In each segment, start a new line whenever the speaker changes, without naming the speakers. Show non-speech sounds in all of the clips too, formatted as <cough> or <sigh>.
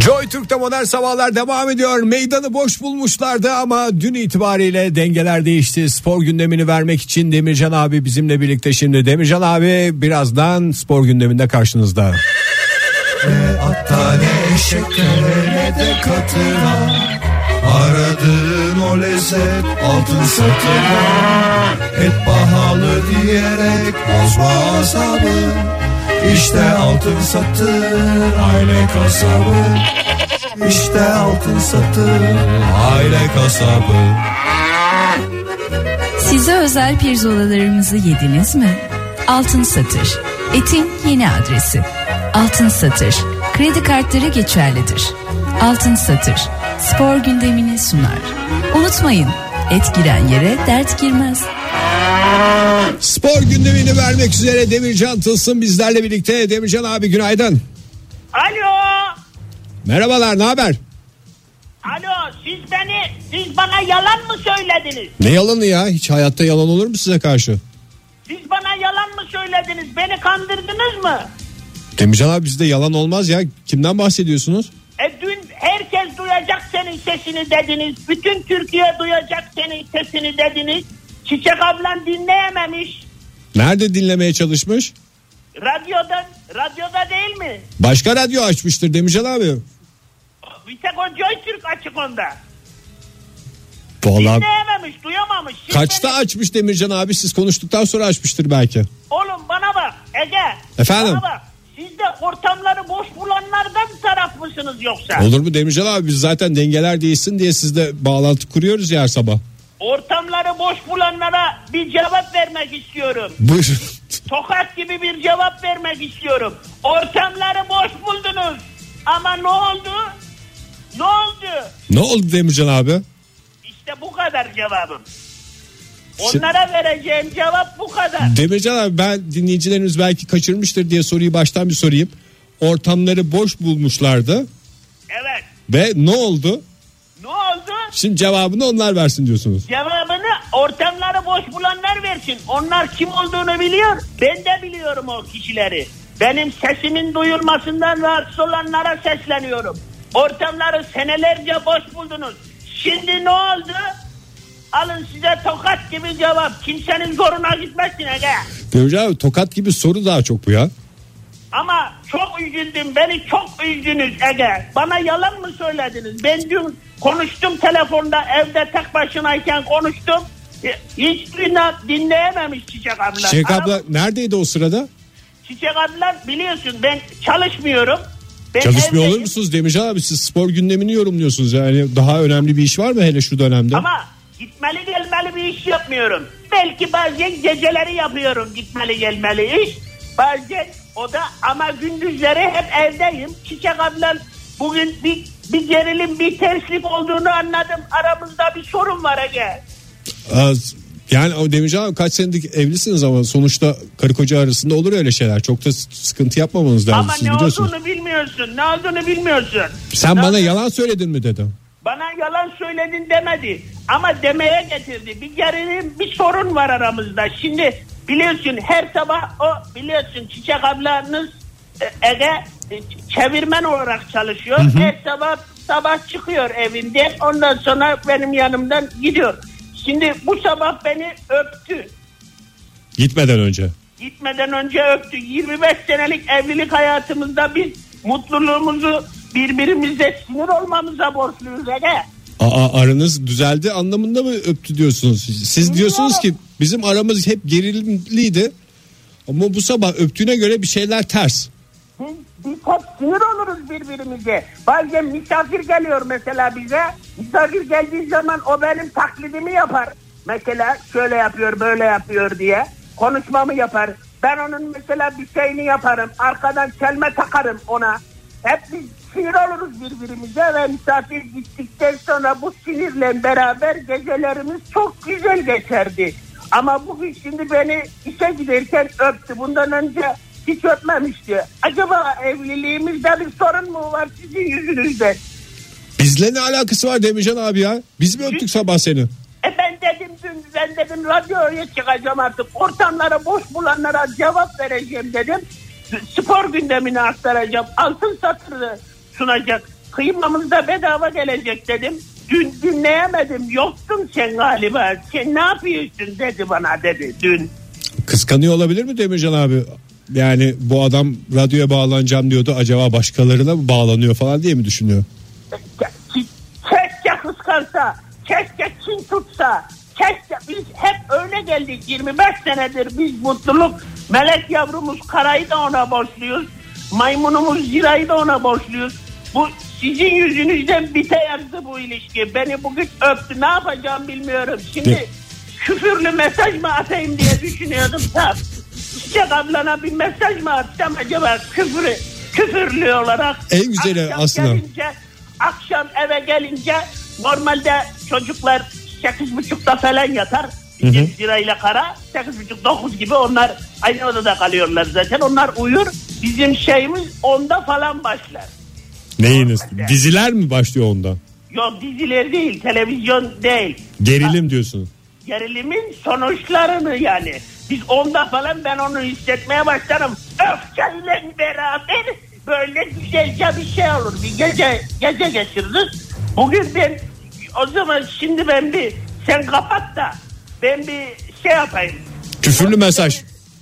Joy Türk'te modern sabahlar devam ediyor. Meydanı boş bulmuşlardı ama dün itibariyle dengeler değişti. Spor gündemini vermek için Demircan abi bizimle birlikte şimdi. Demircan abi birazdan spor gündeminde karşınızda.
Hatta ne eşeklere ne de katına Aradığın o lezzet altın satına Et pahalı diyerek bozma azabı İşte altın satır aile kasabı İşte altın satır aile kasabı
Size özel pirzolalarımızı yediniz mi? Altın Satır. Etin yeni adresi. Altın Satır. Kredi kartları geçerlidir. Altın Satır. Spor gündemini sunar. Unutmayın. Et giren yere dert girmez.
Spor gündemini vermek üzere Demircan Tılsım bizlerle birlikte. Demircan abi günaydın.
Alo.
Merhabalar ne haber?
Alo siz beni siz bana yalan mı söylediniz?
Ne yalanı ya hiç hayatta yalan olur mu size karşı?
Siz bana yalan mı söylediniz? Beni kandırdınız mı?
Demircan abi bizde yalan olmaz ya kimden bahsediyorsunuz?
E dün herkes duyacak senin sesini dediniz. Bütün Türkiye duyacak senin sesini dediniz. Çiçek ablan dinleyememiş.
Nerede dinlemeye çalışmış?
Radyoda, radyoda değil mi?
Başka radyo açmıştır Demircan abi.
Bir tek o Joytürk açık onda.
Vallahi
Dinleyememiş, duyamamış. Siz
kaçta
beni-
açmış Demircan abi siz konuştuktan sonra açmıştır belki.
Oğlum bana bak Ege.
Efendim?
Bana bak. Siz de ortamları boş bulanlardan taraf mısınız yoksa?
Olur mu Demircan abi biz zaten dengeler değilsin diye sizle bağlantı kuruyoruz ya her sabah.
Ortamları boş bulanlara bir cevap vermek istiyorum.
Buyurun.
Tokat gibi bir cevap vermek istiyorum. Ortamları boş buldunuz. Ama ne oldu? Ne oldu?
<laughs> ne oldu Demircan abi?
İşte bu kadar cevabım. Onlara vereceğim cevap bu kadar.
Demircan abi ben dinleyicilerimiz belki kaçırmıştır diye soruyu baştan bir sorayım. Ortamları boş bulmuşlardı
Evet.
ve ne oldu?
Ne oldu?
Şimdi cevabını onlar versin diyorsunuz.
Cevabını ortamları boş bulanlar versin. Onlar kim olduğunu biliyor. Ben de biliyorum o kişileri. Benim sesimin duyulmasından rahatsız olanlara sesleniyorum. Ortamları senelerce boş buldunuz. Şimdi ne oldu? Alın size tokat gibi cevap. Kimsenin zoruna gitmesin Ege.
Demircan abi tokat gibi soru daha çok bu ya.
Ama çok üzüldüm. Beni çok üzdünüz Ege. Bana yalan mı söylediniz? Ben dün konuştum telefonda evde tek başınayken konuştum. Hiç dinle- dinleyememiş Çiçek abla.
Şevk abla
Ama
neredeydi o sırada?
Çiçek abla biliyorsun ben çalışmıyorum. Ben
Çalışmıyor olur
evdeyim.
musunuz Demircan abi siz spor gündemini yorumluyorsunuz yani daha önemli bir iş var mı hele şu dönemde?
Ama gitmeli gelmeli bir iş yapmıyorum. Belki bazen geceleri yapıyorum gitmeli gelmeli iş. Bazen o da ama gündüzleri hep evdeyim. Çiçek abla bugün bir, bir gerilim bir terslik olduğunu anladım. Aramızda bir sorun var Ege.
Az- Ee, Yani o Demircan abi kaç senedir evlisiniz ama sonuçta karı koca arasında olur öyle şeyler. Çok da s- sıkıntı yapmamanız lazım
ama
siz
ne
biliyorsunuz.
olduğunu bilmiyorsun. Ne olduğunu bilmiyorsun.
Sen
Ne-
bana yalan söyledin mi dedim.
Bana yalan söyledin demedi. Ama demeye getirdi. Bir gerilim bir sorun var aramızda. Şimdi biliyorsun her sabah o biliyorsun Çiçek ablanız e, Ege e, çevirmen olarak çalışıyor. Her sabah sabah çıkıyor evinde. Ondan sonra benim yanımdan gidiyor. Şimdi bu sabah beni öptü.
Gitmeden önce.
Gitmeden önce öptü. 25 senelik evlilik hayatımızda biz mutluluğumuzu birbirimize sinir olmamıza borçluyuz Ege.
Aa aranız düzeldi anlamında mı öptü diyorsunuz? Siz diyorsunuz ki bizim aramız hep gerilimliydi. Ama bu sabah öptüğüne göre bir şeyler ters.
Biz, biz hep sinir oluruz birbirimize. Bazen misafir geliyor mesela bize. Misafir geldiği zaman o benim taklidimi yapar. Mesela şöyle yapıyor böyle yapıyor diye. Konuşmamı yapar. Ben onun mesela bir şeyini yaparım. Arkadan çelme takarım ona. Hep biz sinir oluruz birbirimize ve misafir gittikten sonra bu sinirle beraber gecelerimiz çok güzel geçerdi. Ama bugün şimdi beni işe giderken öptü. Bundan önce hiç öpmemişti. Acaba evliliğimizde bir sorun mu var sizin yüzünüzden?
Bizle ne alakası var Demircan abi ya? Biz mi öptük sabah seni?
E ben dedim dün ben dedim radyoya çıkacağım artık. Ortamları boş bulanlara cevap vereceğim dedim. spor gündemini aktaracağım. Altın satırı sunacak. Kıymamız da bedava gelecek dedim. Dün dinleyemedim. Yoktun sen galiba. Sen ne yapıyorsun dedi bana dedi dün.
Kıskanıyor olabilir mi Demircan abi? Yani bu adam radyoya bağlanacağım diyordu. Acaba başkalarına mı bağlanıyor falan diye mi düşünüyor?
Keşke kıskansa, keşke kin tutsa, keşke biz hep öyle geldik 25 senedir biz mutluluk. Melek yavrumuz karayı da ona borçluyuz. Maymunumuz zirayı da ona borçluyuz. Bu sizin yüzünüzden bite yaptı bu ilişki. Beni bugün öptü. Ne yapacağım bilmiyorum.
Ne?
Şimdi küfürlü mesaj mı atayım diye düşünüyordum. da. Çiçek ablana bir mesaj mı atsam acaba küfürü, küfürlü olarak.
En güzeli aslında.
gelince- akşam eve gelince normalde çocuklar sekiz buçukta falan yatar. Biz lirayla kara sekiz buçuk dokuz gibi onlar aynı odada kalıyorlar zaten. Onlar uyur. Bizim şeyimiz onda falan başlar.
Neyiniz? Diziler mi başlıyor onda?
Yok diziler değil, televizyon değil.
Gerilim diyorsunuz.
gerilimin sonuçlarını yani. Biz onda falan ben onu hissetmeye başlarım. Öfkeyle beraber böyle güzelce bir şey olur. Bir gece, gece geçiririz. Bugün ben o zaman şimdi ben bir sen kapat da ben bir şey yapayım.
Küfürlü mesaj.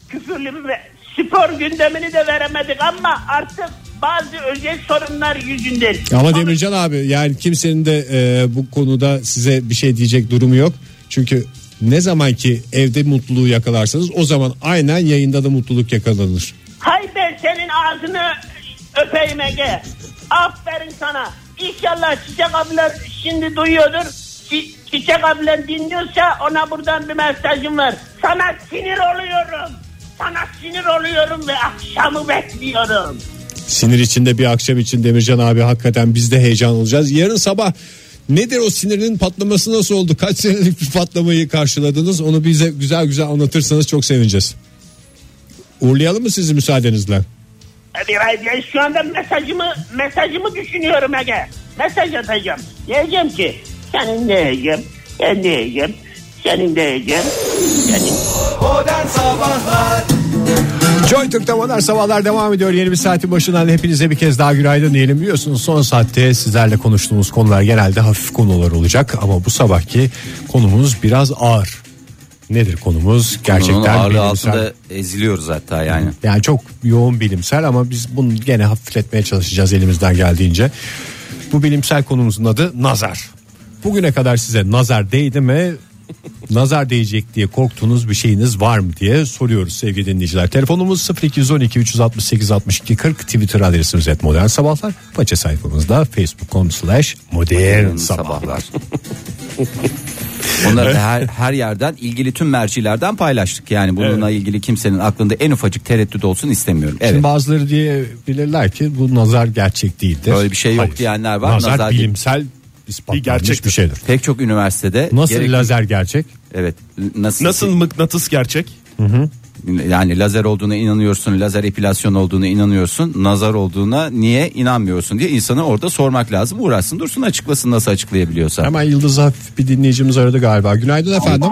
Küfürlü bir ve- spor gündemini de veremedik ama artık bazı özel sorunlar yüzünden.
Ama Demircan abi yani kimsenin de e, bu konuda size bir şey diyecek durumu yok. Çünkü ne zaman ki evde mutluluğu yakalarsanız o zaman aynen yayında da mutluluk yakalanır.
Hay ben senin ağzını öpeyim Ege. Aferin sana. İnşallah Çiçek abla şimdi duyuyordur. Çi- Çiçek abla dinliyorsa ona buradan bir mesajım var. Sana sinir oluyorum. Sana sinir oluyorum ve akşamı bekliyorum.
Sinir içinde bir akşam için Demircan abi hakikaten biz de heyecan olacağız. Yarın sabah nedir o sinirinin patlaması nasıl oldu? Kaç senelik bir patlamayı karşıladınız? Onu bize güzel güzel anlatırsanız çok sevineceğiz. Uğurlayalım mı sizi müsaadenizle?
Biraz ya şu anda mesajımı mesajımı düşünüyorum Ege. Mesaj atacağım. Diyeceğim ki senin ne yiyeceğim? Ben ne yiyeceğim? Senin ne yiyeceğim? Senin...
Modern Sabahlar
Joy Türk'te Modern Sabahlar devam ediyor. Yeni bir saatin başından hepinize bir kez daha günaydın diyelim. Biliyorsunuz son saatte sizlerle konuştuğumuz konular genelde hafif konular olacak. Ama bu sabahki konumuz biraz ağır. Nedir konumuz? Gerçekten
Onun ağırlığı
bilimsel-
altında eziliyoruz hatta yani.
Yani çok yoğun bilimsel ama biz bunu gene hafifletmeye çalışacağız elimizden geldiğince. Bu bilimsel konumuzun adı nazar. Bugüne kadar size nazar değdi mi? <laughs> nazar değecek diye korktuğunuz bir şeyiniz var mı diye soruyoruz sevgili dinleyiciler. Telefonumuz 0212 368 62 40 Twitter adresimiz et modern sabahlar. Paça sayfamızda facebook.com slash modern sabahlar.
<laughs> Onları da her, her yerden ilgili tüm mercilerden paylaştık. Yani bununla ilgili kimsenin aklında en ufacık tereddüt olsun istemiyorum. Evet.
Şimdi bazıları diyebilirler ki bu nazar gerçek değildir.
Böyle bir şey yok diyenler var.
Nazar,
Nazar
bilimsel ispatlanmış bir,
gerçektir.
bir şeydir.
Pek çok üniversitede
Nasıl
gerek-
lazer gerçek?
Evet. Nasıl,
Nasıl mıknatıs gerçek?
yani lazer olduğuna inanıyorsun, lazer epilasyon olduğuna inanıyorsun, nazar olduğuna niye inanmıyorsun diye insanı orada sormak lazım. Uğraşsın dursun açıklasın nasıl açıklayabiliyorsa.
Hemen Yıldız Hafif bir dinleyicimiz aradı galiba. Günaydın efendim.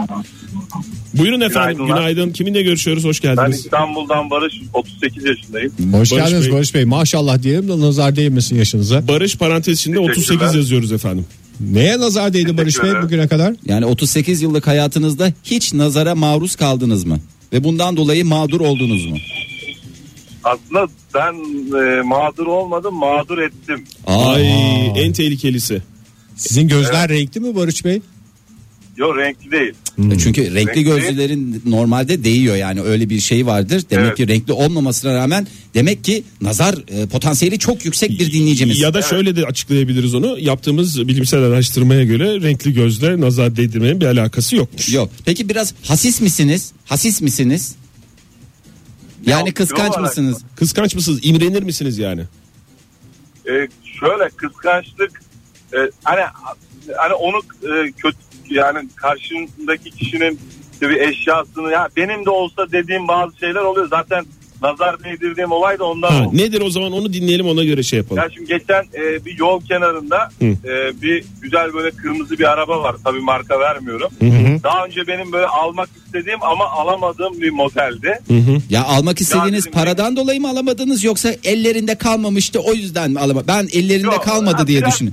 Buyurun efendim.
Günaydınlar.
Günaydın. Kiminle görüşüyoruz? Hoş
Ben
geldiniz.
İstanbul'dan Barış 38 yaşındayım.
Hoş
Barış
geldiniz
Bey.
Barış Bey. Maşallah diyelim de nazar değmesin yaşınıza.
Barış parantez içinde 38
Teşekkürler.
yazıyoruz efendim.
Neye nazar değdi Barış Bey
ederim.
bugüne kadar?
Yani 38 yıllık hayatınızda hiç nazara maruz kaldınız mı? Ve bundan dolayı mağdur oldunuz mu?
Aslında ben e, mağdur olmadım, mağdur ettim.
Ay en tehlikelisi.
Sizin gözler e, renkli mi Barış
<laughs>
Bey?
Yo renkli değil.
E Hmm. Çünkü renkli
Renkli.
gözlülerin normalde değiyor yani öyle bir şey vardır. Demek
Evet.
ki renkli olmamasına rağmen demek ki nazar e, potansiyeli çok yüksek bir dinleyicimiz.
Ya da şöyle de açıklayabiliriz onu. Yaptığımız bilimsel araştırmaya göre renkli gözle nazar değdirmenin bir alakası yokmuş.
Yok. Peki biraz hasis misiniz? Hasis misiniz? Yani
Yok,
kıskanç
yok
mısınız?
Kıskanç mısınız? İmrenir misiniz yani?
E, şöyle kıskançlık e, hani hani onu e, kötü yani karşımdaki kişinin işte bir eşyasını ya benim de olsa dediğim bazı şeyler oluyor. Zaten nazar değdirdiğim olay da ondan
Ha,
oldu.
nedir o zaman onu dinleyelim ona göre şey yapalım.
Ya şimdi geçen e, bir yol kenarında e, bir güzel böyle kırmızı bir araba var. Tabii marka vermiyorum. Daha önce benim böyle almak istediğim ama alamadığım bir modeldi.
Ya almak istediğiniz
dedim,
paradan dolayı mı alamadınız yoksa ellerinde kalmamıştı o yüzden mi alama? Ben ellerinde
Yok,
kalmadı
ha,
diye
biraz-
düşünün.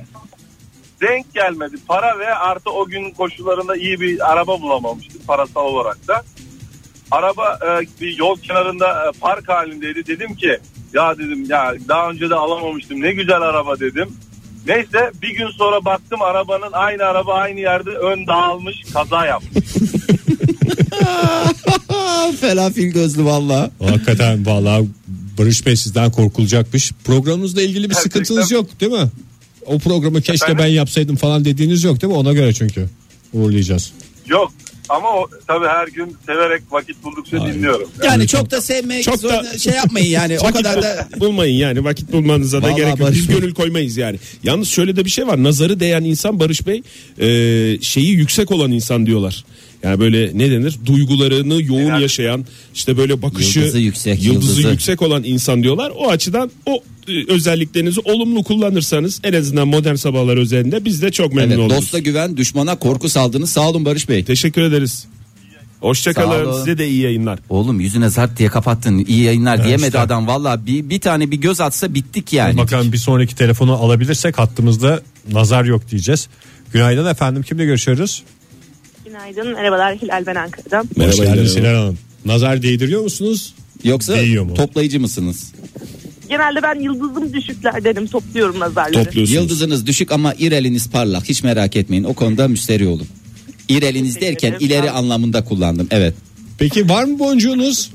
Denk gelmedi. Para ve artı o gün koşullarında iyi bir araba bulamamıştım parasal olarak da. Araba e, bir yol kenarında e, park halindeydi. Dedim ki ya dedim ya daha önce de alamamıştım. Ne güzel araba dedim. Neyse bir gün sonra baktım arabanın aynı araba aynı yerde ön dağılmış kaza yapmış.
Felafil gözlü valla.
Hakikaten vallahi Barış Bey sizden korkulacakmış. Programınızla ilgili bir
Gerçekten.
sıkıntınız yok değil mi? O programı keşke
Efendim?
ben yapsaydım falan dediğiniz yok değil mi? Ona göre çünkü uğurlayacağız.
Yok ama o, tabii her gün severek vakit buldukça dinliyorum.
Yani çok da sevmek
Çok da-
zorunda- şey yapmayın yani o
Vakit
kadar da
bul- bulmayın yani vakit bulmanıza da
Vallahi
gerek yok.
Barış
Biz
Bey.
gönül koymayız yani. Yalnız şöyle de bir şey var. Nazarı değen insan Barış Bey e, şeyi yüksek olan insan diyorlar. Yani böyle ne denir? Duygularını yoğun
Helal.
yaşayan işte böyle bakışı
Yıldızı yüksek,
yıldızı,
yıldızı.
yüksek olan insan diyorlar. O açıdan o e, özelliklerinizi olumlu kullanırsanız en azından modern sabahlar özelinde biz de çok memnun
Evet,
oluruz.
dosta güven düşmana korku saldınız sağ olun Barış Bey.
Teşekkür ederiz.
Sağ
<laughs> Hoşçakalın.
olun.
Size de iyi yayınlar.
Oğlum yüzüne zart diye kapattın iyi yayınlar diyemedi
işte.
adam valla bir, bir tane bir göz atsa bittik yani.
Bakalım bir sonraki telefonu alabilirsek hattımızda nazar yok diyeceğiz. Günaydın efendim kimle görüşüyoruz?
Günaydın, merhabalar. Hilal ben Ankara'dan.
Hoş
Merhaba,
geldiniz
Hilal
Hilal Hanım. Nazar değdiriyor musunuz?
Yoksa
Değiyor mu?
toplayıcı mısınız?
Genelde ben yıldızım düşüklerdenim, topluyorum nazarları.
Topluyorsunuz.
Yıldızınız düşük ama ireliniz parlak hiç merak etmeyin o konuda müsterih olun. İreliniz
Teşekkür
derken
ederim.
ileri
Sağ
anlamında kullandım evet.
Peki var mı boncuğunuz?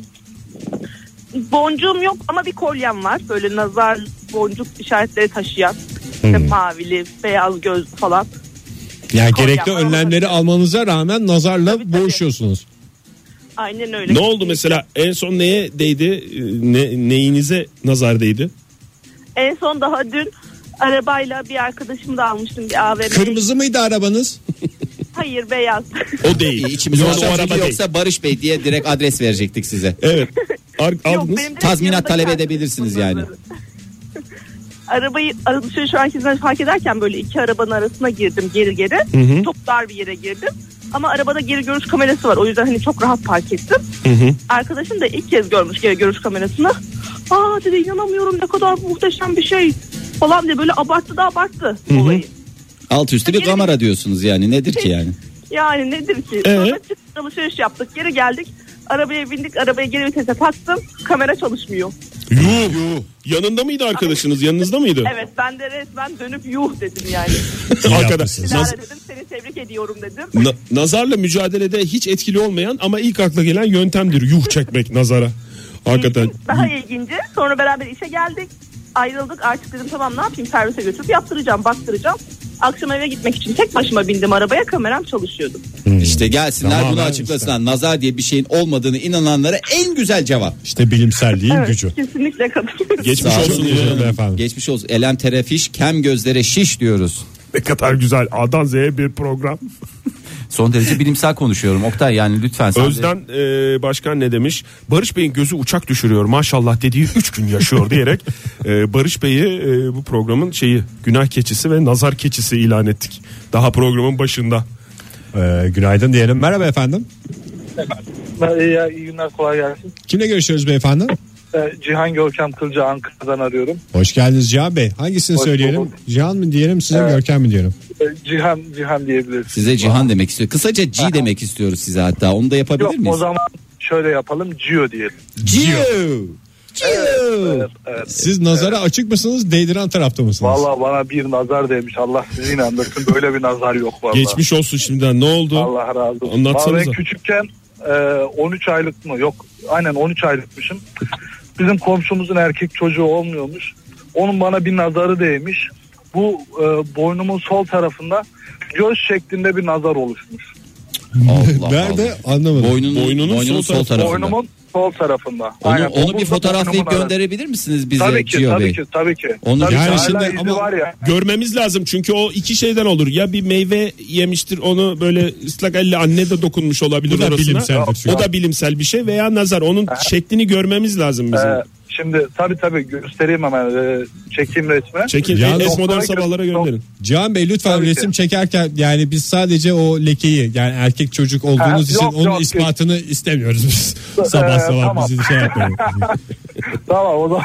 Boncuğum yok ama bir kolyem var. Böyle nazar boncuk işaretleri taşıyan. İşte
Hmm.
mavili, beyaz gözlü falan.
Yani
Kolye
gerekli
var,
önlemleri almanıza rağmen nazarla
Tabii, tabii.
boğuşuyorsunuz.
Aynen öyle.
Ne oldu mesela en son neye değdi? Ne, neyinize nazar değdi?
En son daha dün arabayla bir arkadaşımı da almıştım bir AVM.
Kırmızı mıydı arabanız?
Hayır beyaz.
O değil.
İçimiz
Yok,
varsa
o
çünkü
araba değil.
şey yoksa Barış Bey diye direkt adres verecektik size.
Evet. Ar- aldınız.
benim direkt
Tazminat
yanımda
talep
kendim
edebilirsiniz
tuttum
yani.
nazarı. Arabayı alışveriş merkezine fark ederken böyle iki arabanın arasına girdim geri geri. Çok dar bir yere girdim. Ama arabada geri görüş kamerası var. O yüzden hani çok rahat park ettim. Arkadaşım da ilk kez görmüş geri görüş kamerasını. Aa dedi inanamıyorum ne kadar muhteşem bir şey falan diye böyle abarttı da abarttı olayı.
Alt üstü bir kamera diyorsunuz yani nedir
Şey-
ki yani?
Yani nedir ki?
Ee?
Sonra çıktık alışveriş yaptık. Geri geldik. Arabaya bindik. Arabaya geri vitese taktım. Kamera çalışmıyor.
Yuh. Yanında mıydı arkadaşınız? Yanınızda mıydı?
<laughs> Evet ben de resmen dönüp yuh dedim yani.
<laughs> Arkada.
yapmışsınız.
Dilara
Naz-
dedim seni tebrik ediyorum dedim.
na- nazarla mücadelede hiç etkili olmayan ama ilk akla gelen yöntemdir. Yuh çekmek nazara. Hakikaten.
Daha ilginci sonra beraber işe geldik. Ayrıldık artık dedim tamam ne yapayım servise götürüp yaptıracağım baktıracağım. Akşam eve gitmek için tek başıma bindim arabaya kameram çalışıyordu.
Hmm.
İşte gelsinler
Tamam,
bunu
ben
açıklasınlar. Nazar diye bir şeyin olmadığını inananlara en güzel cevap.
İşte bilimselliğin
Evet
gücü.
kesinlikle katılıyorum.
Geçmiş
Sağ olun.
olsun.
Teşekkür ederim
diye.
efendim.
Geçmiş olsun. Elem terefiş, kem gözlere şiş diyoruz.
Ne kadar güzel. A'dan Z'ye bir program.
Son derece bilimsel konuşuyorum. Oktay yani lütfen sen de-
Özden e, Başkan ne demiş? Barış Bey'in gözü uçak düşürüyor maşallah dediği 3 gün yaşıyor diyerek e, Barış Bey'i e, bu programın şeyi günah keçisi ve nazar keçisi ilan ettik. Daha programın başında.
Ee, günaydın diyelim. Merhaba efendim.
Ben- iyi, iyi günler kolay gelsin.
Kimle görüşüyoruz beyefendi?
Ee, Cihan Görkem Kılcı Ankara'dan arıyorum.
Hoş geldiniz Cihan Bey. Hangisini
Hoş
söyleyelim?
bulduk.
Cihan mı diyelim size
Evet.
Görkem mi diyelim?
Ee, Cihan Cihan diyebiliriz.
size Cihan demek istiyor.
<laughs>
Kısaca C demek istiyoruz size hatta. Onu da yapabilir
Yok o
miyiz?
zaman şöyle yapalım Cio diyelim.
Cio.
Evet, evet.
Siz nazara açık mısınız? Değdiren tarafta mısınız? <laughs>
Valla bana bir nazar demiş Allah sizi inandırsın böyle bir nazar yok valla.
Geçmiş olsun şimdiden ne oldu?
Allah razı olsun.
Anlatsanıza.
Vallahi ben küçükken e, 13 aylık mı yok aynen 13 aylıkmışım. Bizim komşumuzun erkek çocuğu olmuyormuş. Onun bana bir nazarı değmiş. Bu e, boynumun sol tarafında göz şeklinde bir nazar oluşmuş.
Allah Allah.
Nerede? Anlamadım.
Boynunun,
Boynunun
boynunun
sol
sol,
tarafı.
tarafında.
Boynumun sol tarafında.
Onu,
Aynen,
onu bir
omuzla
fotoğraflayıp
boynumun arası.
gönderebilir misiniz bize
Tabii ki,
Tio
tabii
Bey?
ki, tabii ki.
Onu
tabii ki.
yani
Hala
şimdi-
izi
ama-
var ya.
Görmemiz lazım çünkü o iki şeyden olur. Ya bir meyve yemiştir onu böyle ıslak elle anne de dokunmuş olabilir
Bu da
orasına.
bilimseldir çünkü.
O da bilimsel bir şey veya nazar. Onun şeklini görmemiz lazım bizim.
Ee, şimdi tabii tabii göstereyim hemen ee, çekeyim resmi. E,
Çekin
Ya
es
doktora
modern
gö-
sabahlara gönderin.
Cihan Bey lütfen
Tabii ki.
resim çekerken yani biz sadece o lekeyi yani erkek çocuk olduğunuz
Ha,
için
yok,
onun
yok.
ispatını istemiyoruz biz.
<laughs> Ee,
sabah sabah
tamam.
bizi şey yapmayın.
<laughs> Tamam o zaman.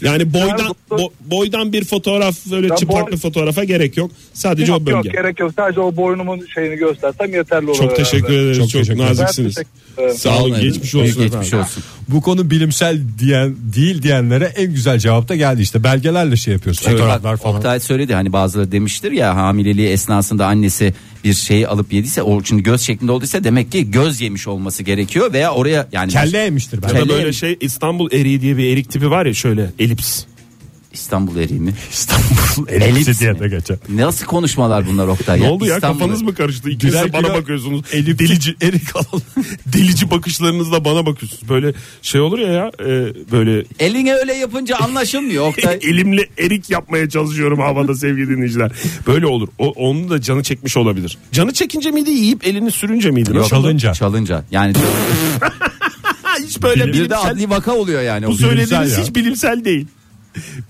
Yani boydan
doktor-
bo- boydan bir fotoğraf böyle
Ya
çıplak
boy-
bir fotoğrafa gerek yok. Sadece o
yok, yok
bölge.
gerek yok. Sadece o boynumun şeyini göstersem yeterli olur.
Çok teşekkür
herhalde.
ederiz.
Çok
Çok,
teşekkür ederim.
naziksiniz.
Ben teşekkür ederim.
Sağ olun.
efendim.
Geçmiş olsun.
Büyük
efendim.
Geçmiş olsun.
Bu konu bilimsel diyen değil diyenlere en güzel cevap da geldi işte. Belgelerle şey yapıyorsun.
Çünkü
Fotoğraflar
bak,
falan.
Oktay söyledi hani bazıları demiştir ya hamileliği esnasında annesi bir şeyi alıp yediyse o şimdi göz şeklinde olduysa demek ki göz yemiş olması gerekiyor veya oraya yani
Kelle yemiştir
Ya da
belki.
Kelle-
böyle şey İstanbul eriği diye bir erik tipi var ya şöyle elips.
İstanbul
<laughs>
eriği mi?
İstanbul
Elips mi?
elipsi diye de geçer.
Nasıl konuşmalar bunlar Oktay?
Ne oldu ya
İstanbul-
kafanız mı karıştı? İkiniz
Birer
de bana
kilo
bakıyorsunuz. Delici erik alalım. <laughs> Delici bakışlarınızla bana bakıyorsunuz. Böyle şey olur ya ya e, böyle
Eline öyle yapınca anlaşılmıyor Oktay.
<laughs> elimle erik yapmaya çalışıyorum havada sevgili dinleyiciler. Böyle olur. O, onun da canı çekmiş olabilir. Canı çekince miydi yiyip elini sürünce miydi?
Yok,
Nasıl?
Çalınca.
Çalınca. Yani
Ha, hiç böyle
bir de
bilimsel,
adli vaka oluyor yani.
bu söylediğiniz
ya.
hiç bilimsel değil.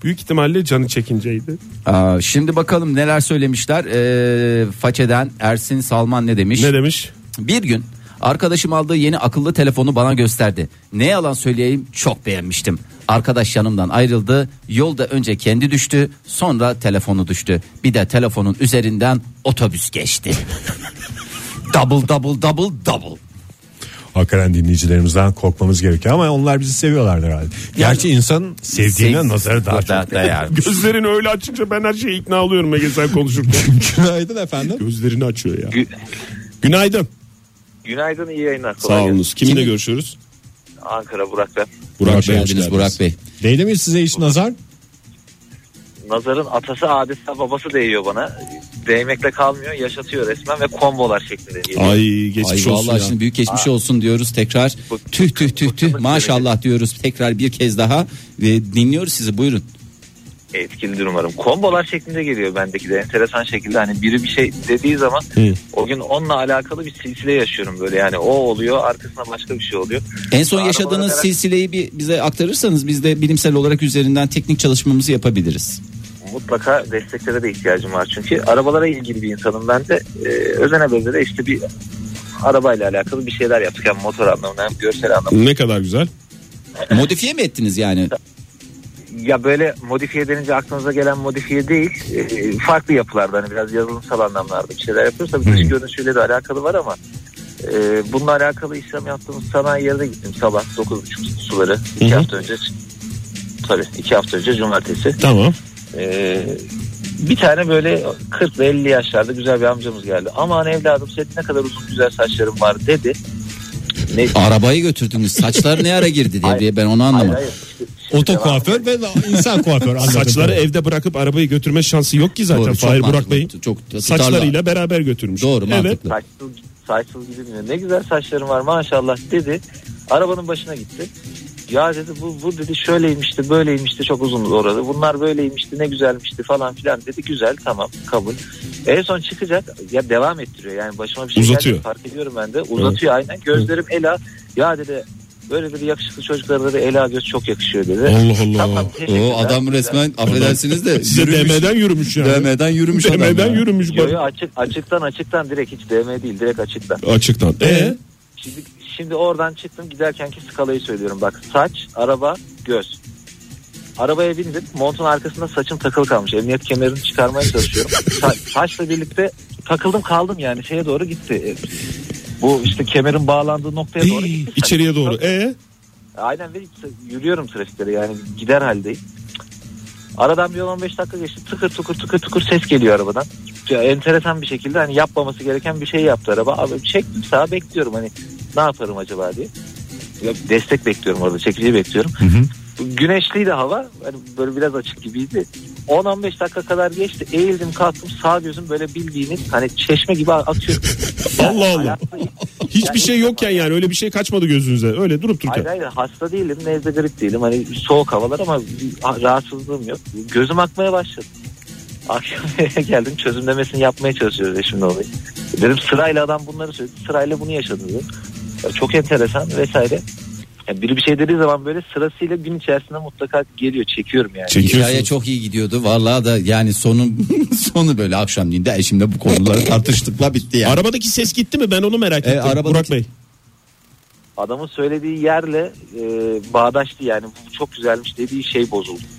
Büyük ihtimalle canı çekinceydi.
Aa, şimdi bakalım neler söylemişler. Ee, façeden Ersin Salman ne demiş?
Ne demiş?
Bir gün arkadaşım aldığı yeni akıllı telefonu bana gösterdi. Ne yalan söyleyeyim çok beğenmiştim. Arkadaş yanımdan ayrıldı. Yolda önce kendi düştü, sonra telefonu düştü. Bir de telefonun üzerinden otobüs
<laughs>
geçti. double double double double.
Hakikaten dinleyicilerimizden korkmamız gerekiyor ama onlar bizi seviyorlardır herhalde. Gerçi insanın sevdiğine
Sev-
nazarı daha çok. <laughs>
<laughs>
değer.
Gözlerini öyle açınca ben her şeye ikna oluyorum Ege sen konuşurken.
<laughs> Günaydın efendim.
Gözlerini açıyor ya. Günaydın.
Günaydın iyi yayınlar.
Sağ
gelsin.
olunuz. Kiminle
Kim-
görüşüyoruz?
Ankara Burak ben.
Burak
Hoş
Bey, hoş
geldiniz
geldiniz.
Burak Bey.
Değil mi size hiç nazar?
Nazar'ın atası adeta babası değiyor bana. Değmekle kalmıyor yaşatıyor resmen ve kombolar şeklinde geliyor.
Ay
Ay
geçmiş olsun
vallahi
ya.
şimdi büyük geçmiş olsun diyoruz tekrar.
Bu-
Tüh tüh tüh tüh
bu-
maşallah diyoruz tekrar bir kez daha ve dinliyoruz sizi buyurun.
Etkilidir umarım. Kombolar şeklinde geliyor bendeki de enteresan şekilde. Hani biri bir şey dediği zaman o gün onunla alakalı bir silsile yaşıyorum böyle. Yani o oluyor arkasına başka bir şey oluyor.
En son
Arabalara
yaşadığınız
merak-
silsileyi bir bize aktarırsanız biz de bilimsel olarak üzerinden teknik çalışmamızı yapabiliriz.
mutlaka desteklere de ihtiyacım var. Çünkü arabalara ilgili bir insanım ben de. Ee, özene bezene işte bir arabayla alakalı bir şeyler yaptık. Hem motor anlamında hem görsel anlamında.
Ne kadar güzel.
Modifiye mi ettiniz yani?
Ya böyle modifiye denince aklınıza gelen modifiye değil. Ee, farklı yapılarda hani biraz yazılımsal anlamlarda bir şeyler yapıyoruz. Tabii dış görünüşüyle de alakalı var ama e, bununla alakalı işlem yaptığımız sanayi yerine gittim sabah 9.30 suları. iki
Hı hı.
hafta önce tabii iki hafta önce cumartesi.
Tamam.
Ee, bir tane böyle 40 ve 50 yaşlarda güzel bir amcamız geldi. Aman evladım senin ne kadar uzun güzel saçların var dedi. Ne?
Arabaya götürdünüz. Saçlar ne ara girdi diye,
Hayır.
diye ben onu
Hayır,
anlamadım.
hayır. Şimdi- şimdi
Oto
devam-
kuaför ve insan kuaför. anladım.
Saçları evde bırakıp arabayı götürme şansı yok ki zaten.
Doğru, çok
Fahir Burak
mantıklı,
Bey'in
çok tutarlı.
saçlarıyla beraber götürmüş.
Doğru
Evet.
mantıklı.
Saçsız, saçsız gibi mi? Ne güzel saçların var maşallah dedi. Arabanın başına gitti. Ya dedi bu, bu dedi şöyleymişti böyleymişti çok uzun orada. Bunlar böyleymişti ne güzelmişti falan filan dedi. Güzel tamam kabul. En son çıkacak ya devam ettiriyor yani başıma bir şey
Uzatıyor.
geldi fark ediyorum ben de. Uzatıyor aynen gözlerim Ela ya dedi böyle dedi yakışıklı çocuklara dedi Ela göz çok yakışıyor dedi.
Allah Allah.
Tamam, teşekkürler.
O adam resmen affedersiniz de
Size
yürümüş.
DM'den yürümüş yani.
DM'den yürümüş adam
DM'den
ya.
yürümüş
Yo,
bak.
yo, açık, açıktan açıktan direkt hiç DM değil direkt açıktan.
Açıktan. E
Şimdi, şimdi oradan çıktım giderkenki skalayı söylüyorum bak saç, araba, göz. Arabaya bindim montun arkasında saçım takılı kalmış emniyet kemerini çıkarmaya
<laughs>
çalışıyorum. Sa- saçla birlikte takıldım kaldım yani şeye doğru gitti. E, Bu işte kemerin bağlandığı noktaya doğru
Hey,
gitti. saç.
içeriye doğru. E
Aynen ve yürüyorum trafikleri yani gider haldeyim. Aradan bir 15 dakika geçti tıkır tıkır tıkır tıkır ses geliyor arabadan. Ya, enteresan bir şekilde hani yapmaması gereken bir şey yaptı araba. Abi çektim sağa bekliyorum hani ne yaparım acaba diye. Ya, destek bekliyorum orada çekiciyi bekliyorum. Güneşliydi hava hani böyle biraz açık gibiydi. 10-15 dakika kadar geçti eğildim kalktım sağ gözüm böyle bildiğiniz hani çeşme gibi akıyor.
Allah Allah.
Hayatta-
Hiçbir şey yokken yani öyle bir şey kaçmadı gözünüze. Öyle durup dururken.
Hayır hayır hasta değilim nezle grip değilim hani soğuk havalar ama bir rahatsızlığım yok. Gözüm akmaya başladı. Akşam eve <laughs> geldim çözümlemesini yapmaya çalışıyoruz eşimle olayı. Dedim sırayla adam bunları söyledi sırayla bunu yaşadı dedi. Ya Çok enteresan vesaire. Yani biri bir şey dediği zaman böyle sırasıyla gün içerisinde mutlaka geliyor çekiyorum yani.
Hikaye çok iyi gidiyordu. Vallahi da yani sonu <laughs> sonu böyle akşamleyin de eşimle bu konuları tartıştıkla bitti yani.
Arabadaki ses gitti mi? Ben onu merak
E,
ettim.
arabadaki-
Burak Bey.
Adamın söylediği yerle e, bağdaştı yani bu çok güzelmiş dediği şey bozuldu.
<laughs>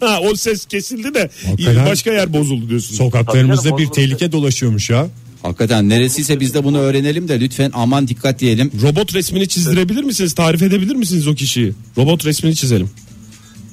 Ha, o ses kesildi de
Hakikaten.
başka yer bozuldu diyorsun.
Sokaklarımızda
Tabii
bir
canım,
tehlike dolaşıyormuş ya.
Hakikaten neresiyse biz de bunu öğrenelim de lütfen aman dikkat diyelim.
Robot resmini çizdirebilir misiniz? Tarif edebilir misiniz o kişiyi? Robot resmini çizelim.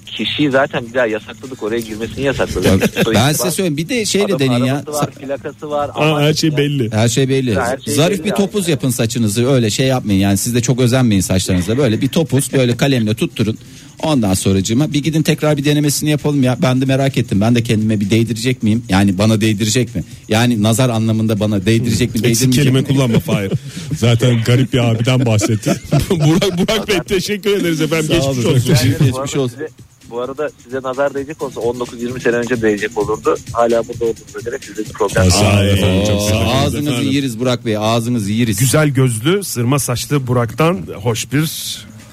Kişiyi zaten bir daha yasakladık oraya girmesini yasakladık.
Ben size söyleyeyim bir de şeyle
Adamın
deneyin ya.
arabası var, plakası var.
Aa,
Aman
her şey
ya.
belli.
Her şey belli.
Her şey
Zarif
belli
bir
yani.
topuz yapın saçınızı. Öyle şey yapmayın yani. Siz de çok özenmeyin saçlarınıza. Böyle bir topuz böyle kalemle tutturun. Ondan sonracığıma bir gidin tekrar bir denemesini yapalım ya. Ben de merak ettim. Ben de kendime bir değdirecek miyim? Yani bana değdirecek mi? Yani nazar anlamında bana değdirecek mi?
Eksik
Değdirmeyecek
kelime
mi?
kullanma
<laughs>
Fahir.
Zaten garip bir abiden <laughs> bahsetti.
Burak, Burak Bey teşekkür ederiz efendim.
Sağ
Geçmiş
olun.
olsun.
Yani bu
Geçmiş
arada
olsun.
size- Bu arada size nazar değecek olsa 19-20 sene önce değecek olurdu. Hala burada olduğunuza göre sizde bir problem
Sağ olun
var.
efendim, çok sağ olun.
Aa, Ağzınızı
Efendim.
yeriz Burak Bey. Ağzınızı yeriz.
Güzel gözlü, sırma saçlı Burak'tan hoş bir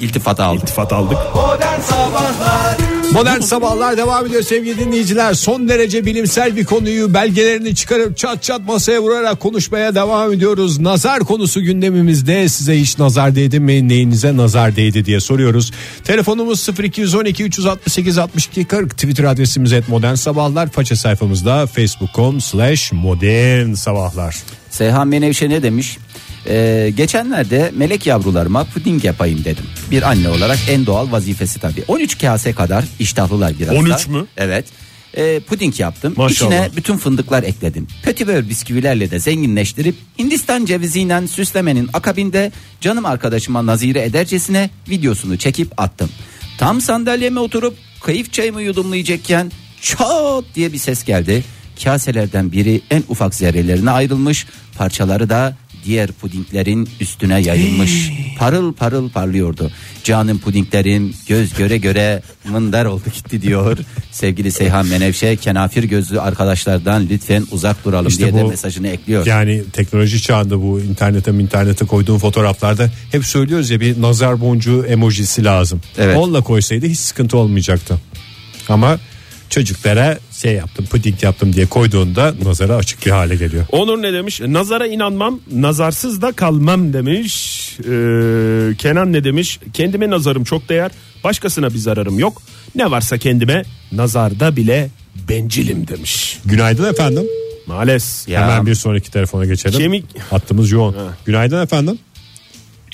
İltifat aldım.
iltifat aldık.
Modern sabahlar devam ediyor sevgili dinleyiciler. Son derece bilimsel bir konuyu belgelerini çıkarıp çat çat masaya vurarak konuşmaya devam ediyoruz. Nazar konusu gündemimizde size hiç nazar değdi mi neyinize nazar değdi diye soruyoruz. Telefonumuz 0212 368 62 40 Twitter adresimiz et modern sabahlar. Faça sayfamızda facebook.com slash modern sabahlar.
Seyhan Menevşe ne demiş? Ee, geçenlerde melek yavrularıma puding yapayım dedim. Bir anne olarak en doğal vazifesi tabii. 13 kase kadar iştahlılar biraz
13
da.
mü?
Evet. Ee, puding yaptım.
Maşallah.
İçine bütün fındıklar ekledim. Pötibör bisküvilerle de zenginleştirip Hindistan ceviziyle süslemenin akabinde canım arkadaşıma nazire edercesine videosunu çekip attım. Tam sandalyeme oturup kayıf çayımı yudumlayacakken çat diye bir ses geldi. Kaselerden biri en ufak zerrelerine ayrılmış parçaları da diğer pudinglerin üstüne yayılmış. Parıl parıl parlıyordu. Canım pudinglerim göz göre göre mındar oldu gitti diyor. Sevgili Seyhan Menevşe kenafir gözlü arkadaşlardan lütfen uzak duralım
İşte
diye de
bu-
mesajını ekliyor.
Yani teknoloji çağında bu internete internete koyduğun fotoğraflarda hep söylüyoruz ya bir nazar boncuğu emojisi lazım.
Evet.
Onunla koysaydı hiç sıkıntı olmayacaktı. Ama çocuklara şey yaptım puding yaptım diye koyduğunda nazara açık bir hale geliyor.
Onur ne demiş? Nazara inanmam, nazarsız da kalmam demiş. Ee, Kenan ne demiş? Kendime nazarım çok değer, başkasına bir zararım yok. Ne varsa kendime nazarda bile bencilim demiş.
Günaydın efendim.
Maalesef.
Ya.
Hemen bir sonraki telefona geçelim.
Kemik-
Hattımız yoğun. Günaydın efendim.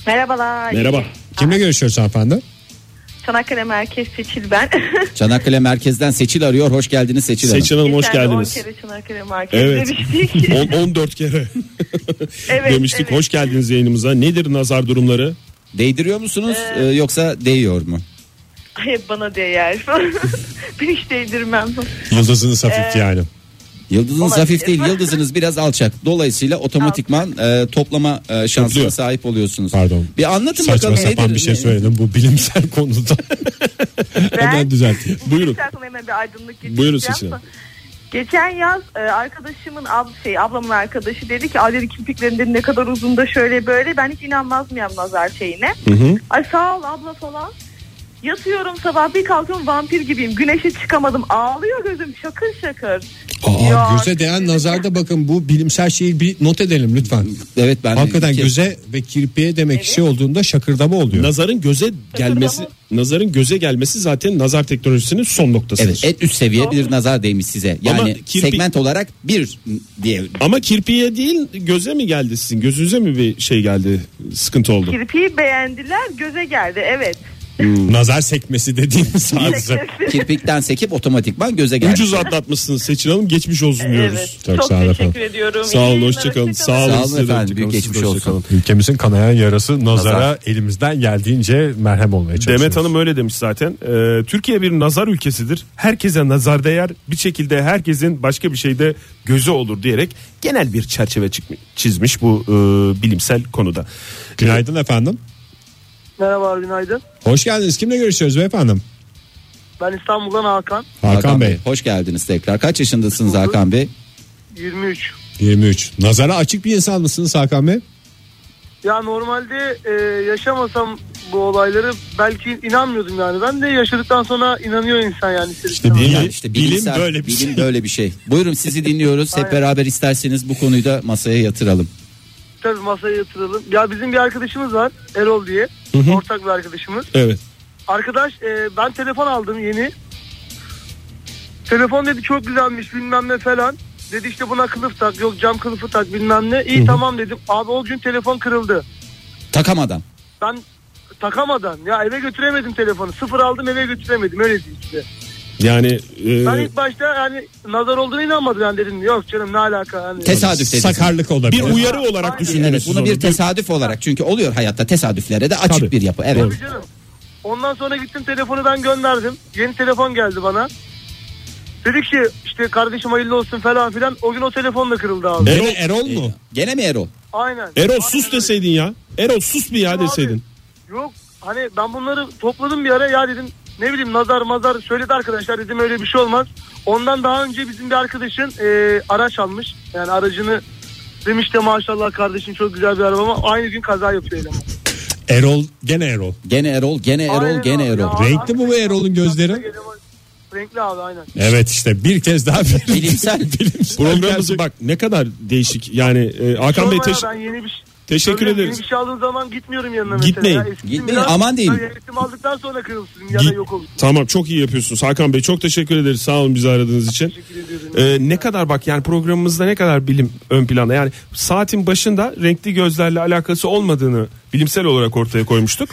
Merhabalar.
Merhaba.
Kimle görüşüyoruz efendim?
Çanakkale Merkez Seçil ben.
Çanakkale merkezden Seçil arıyor. Hoş geldiniz Seçil, Hanım.
Seçil Hanım hoş
Geçen de
geldiniz.
10 kere Çanakkale Merkez
Evet. <laughs>
demiştik.
<laughs>
14 kere
evet,
demiştik.
evet.
Hoş geldiniz yayınımıza. Nedir nazar durumları?
Değdiriyor musunuz e, yoksa değiyor mu?
Hep bana değer. <laughs> ben hiç değdirmem.
Yıldızınız hafif yani.
Yıldızınız
Ee, Olabilir.
hafif değil, yıldızınız biraz alçak. Dolayısıyla otomatikman e, toplama e, şansına
Topluyor.
sahip oluyorsunuz.
Pardon.
Bir anlatın
Saçma
bakalım
sapan
nedir?
bir şey
Ne-
söyledim bu bilimsel konuda. Hemen
<laughs>
düzelteyim.
Buyurun.
İstersen hemen bir aydınlık getireceğim.
Buyurun Seçil Hanım.
Geçen yaz e, arkadaşımın ab şey ablamın arkadaşı dedi ki "Aa," dedi kirpiklerin dedi, ne kadar uzun da şöyle böyle ben hiç inanmaz mıyım nazar şeyine. Ay sağ ol abla falan. Yatıyorum sabah bir kalkıyorum vampir gibiyim. Güneşe çıkamadım. Ağlıyor gözüm şakır şakır. Ya,
Aa, göze değen nazarda bakın bu bilimsel şeyi bir not edelim lütfen.
Evet ben
Hakikaten
iki-
göze ve kirpiğe demek şey olduğunda şakırdama oluyor.
Nazarın göze gelmesi, nazarın göze gelmesi zaten nazar teknolojisinin son noktasıdır.
Evet, en üst seviye bir nazar değmiş size. Yani
Ama kirpi-
segment olarak bir diye
Ama kirpiye değil göze mi geldi sizin? Gözünüze mi bir şey geldi? Sıkıntı oldu.
Kirpiği beğendiler göze geldi evet.
Nazar sekmesi dediğimiz hadise.
Kirpikten sekip otomatikman göze geldi.
Ucuz atlatmışsınız Seçin Hanım. Geçmiş olsun diyoruz.
Evet.
Çok
Çok,
sağ olun
teşekkür
efendim.
ediyorum. İyi
Sağ olun.
yayınlar,
Hoşçakalın.
hoşça kalın.
Sağ olun.
Sağ olun
size de
efendim,
hoşça
büyük
kalın,
geçmiş
hoşça
olsun.
kalın.
Ülkemizin kanayan yarası nazara
Nazar.
elimizden geldiğince merhem olmaya çalışıyoruz.
Demet Hanım öyle demiş zaten. Ee, Türkiye bir nazar ülkesidir. Herkese nazar değer. Bir şekilde herkesin başka bir şeyde gözü olur diyerek genel bir çerçeve çıkmış, çizmiş bu e, bilimsel konuda. Ee,
Günaydın efendim.
Merhaba günaydın.
Hoş geldiniz. Kimle görüşüyoruz beyefendim?
Ben İstanbul'dan Hakan.
Hakan, Bey.
Hoş geldiniz tekrar. Kaç yaşındasınız Hakan Bey?
23.
23. Nazara açık bir insan mısınız Hakan Bey?
Ya normalde e, yaşamasam bu olayları belki inanmıyordum yani. Ben de yaşadıktan sonra inanıyor insan yani.
İşte bilim,
Yani işte bilimsel-
bilim böyle bir
bilim
şey.
böyle bir şey. Buyurun sizi dinliyoruz. Hep
Aynen.
beraber isterseniz bu konuyu da masaya yatıralım.
Tabii masaya yatıralım. Ya bizim bir arkadaşımız var Erol diye. Ortak bir arkadaşımız.
Evet.
Arkadaş e, ben telefon aldım yeni. Telefon dedi çok güzelmiş bilmem ne falan. Dedi işte buna kılıf tak yok cam kılıfı tak bilmem ne. İyi tamam dedim. Abi o gün telefon kırıldı.
Takamadan.
Ben takamadan ya eve götüremedim telefonu. Sıfır aldım eve götüremedim öyle diyeyim size.
Yani
Ee,
e,
Ben ilk başta yani nazar olduğuna inanmadım yani dedim yok canım ne alaka hani- yani.
Tesadüf dediniz.
Sakarlık olabilir.
bir uyarı olarak
Aynen.
düşünün.
Evet, bunu bir tesadüf olarak çünkü oluyor hayatta tesadüflere de açık
Tabii.
bir yapı. Evet.
Tabii canım. Ondan sonra gittim telefonu ben gönderdim. Yeni telefon geldi bana. Dedi ki işte kardeşim hayırlı olsun falan filan. O gün o telefon da kırıldı abi.
Erol, Erol mu? Er-
Gene mi Erol?
Aynen.
E, Erol
Aynen
sus
öyle.
deseydin ya. Erol sus bir ya
Abi,
deseydin.
Yok hani ben bunları topladım bir ara ya dedim ne bileyim nazar mazar söyledi arkadaşlar dedim öyle bir şey olmaz. Ondan daha önce bizim bir arkadaşın e, araç almış yani aracını demiş de maşallah kardeşim çok güzel bir araba ama aynı gün kaza yapıyor eleman.
Erol gene Erol.
Gene Erol, gene Erol,
Aynen
gene
abi,
Erol.
ya.
Renkli mi bu Erol'un gözleri?
Eleman- Renkli abi aynen.
Evet işte bir kez daha bir <laughs>
Bilimsel.
bilimsel
Programımız
gerçek.
bak ne kadar değişik. Yani e, Hakan Bey
Sorma ya,
teş-
ben yeni bir şey.
teşekkür
Söyleyeyim,
ederiz.
Yeni bir şey aldığım zaman gitmiyorum yanına
Gitmeyin.
mesela. Eskittim
Gitmeyin,
biraz.
aman diyeyim.
Yani eskitim aldıktan sonra kırılsın ya da
Git-
yok olsun.
Tamam çok iyi yapıyorsunuz Hakan Bey çok teşekkür ederiz sağ olun bizi aradığınız için. Ee, ne kadar bak yani programımızda ne kadar bilim ön planda yani saatin başında renkli gözlerle alakası olmadığını bilimsel olarak ortaya
<laughs>
koymuştuk.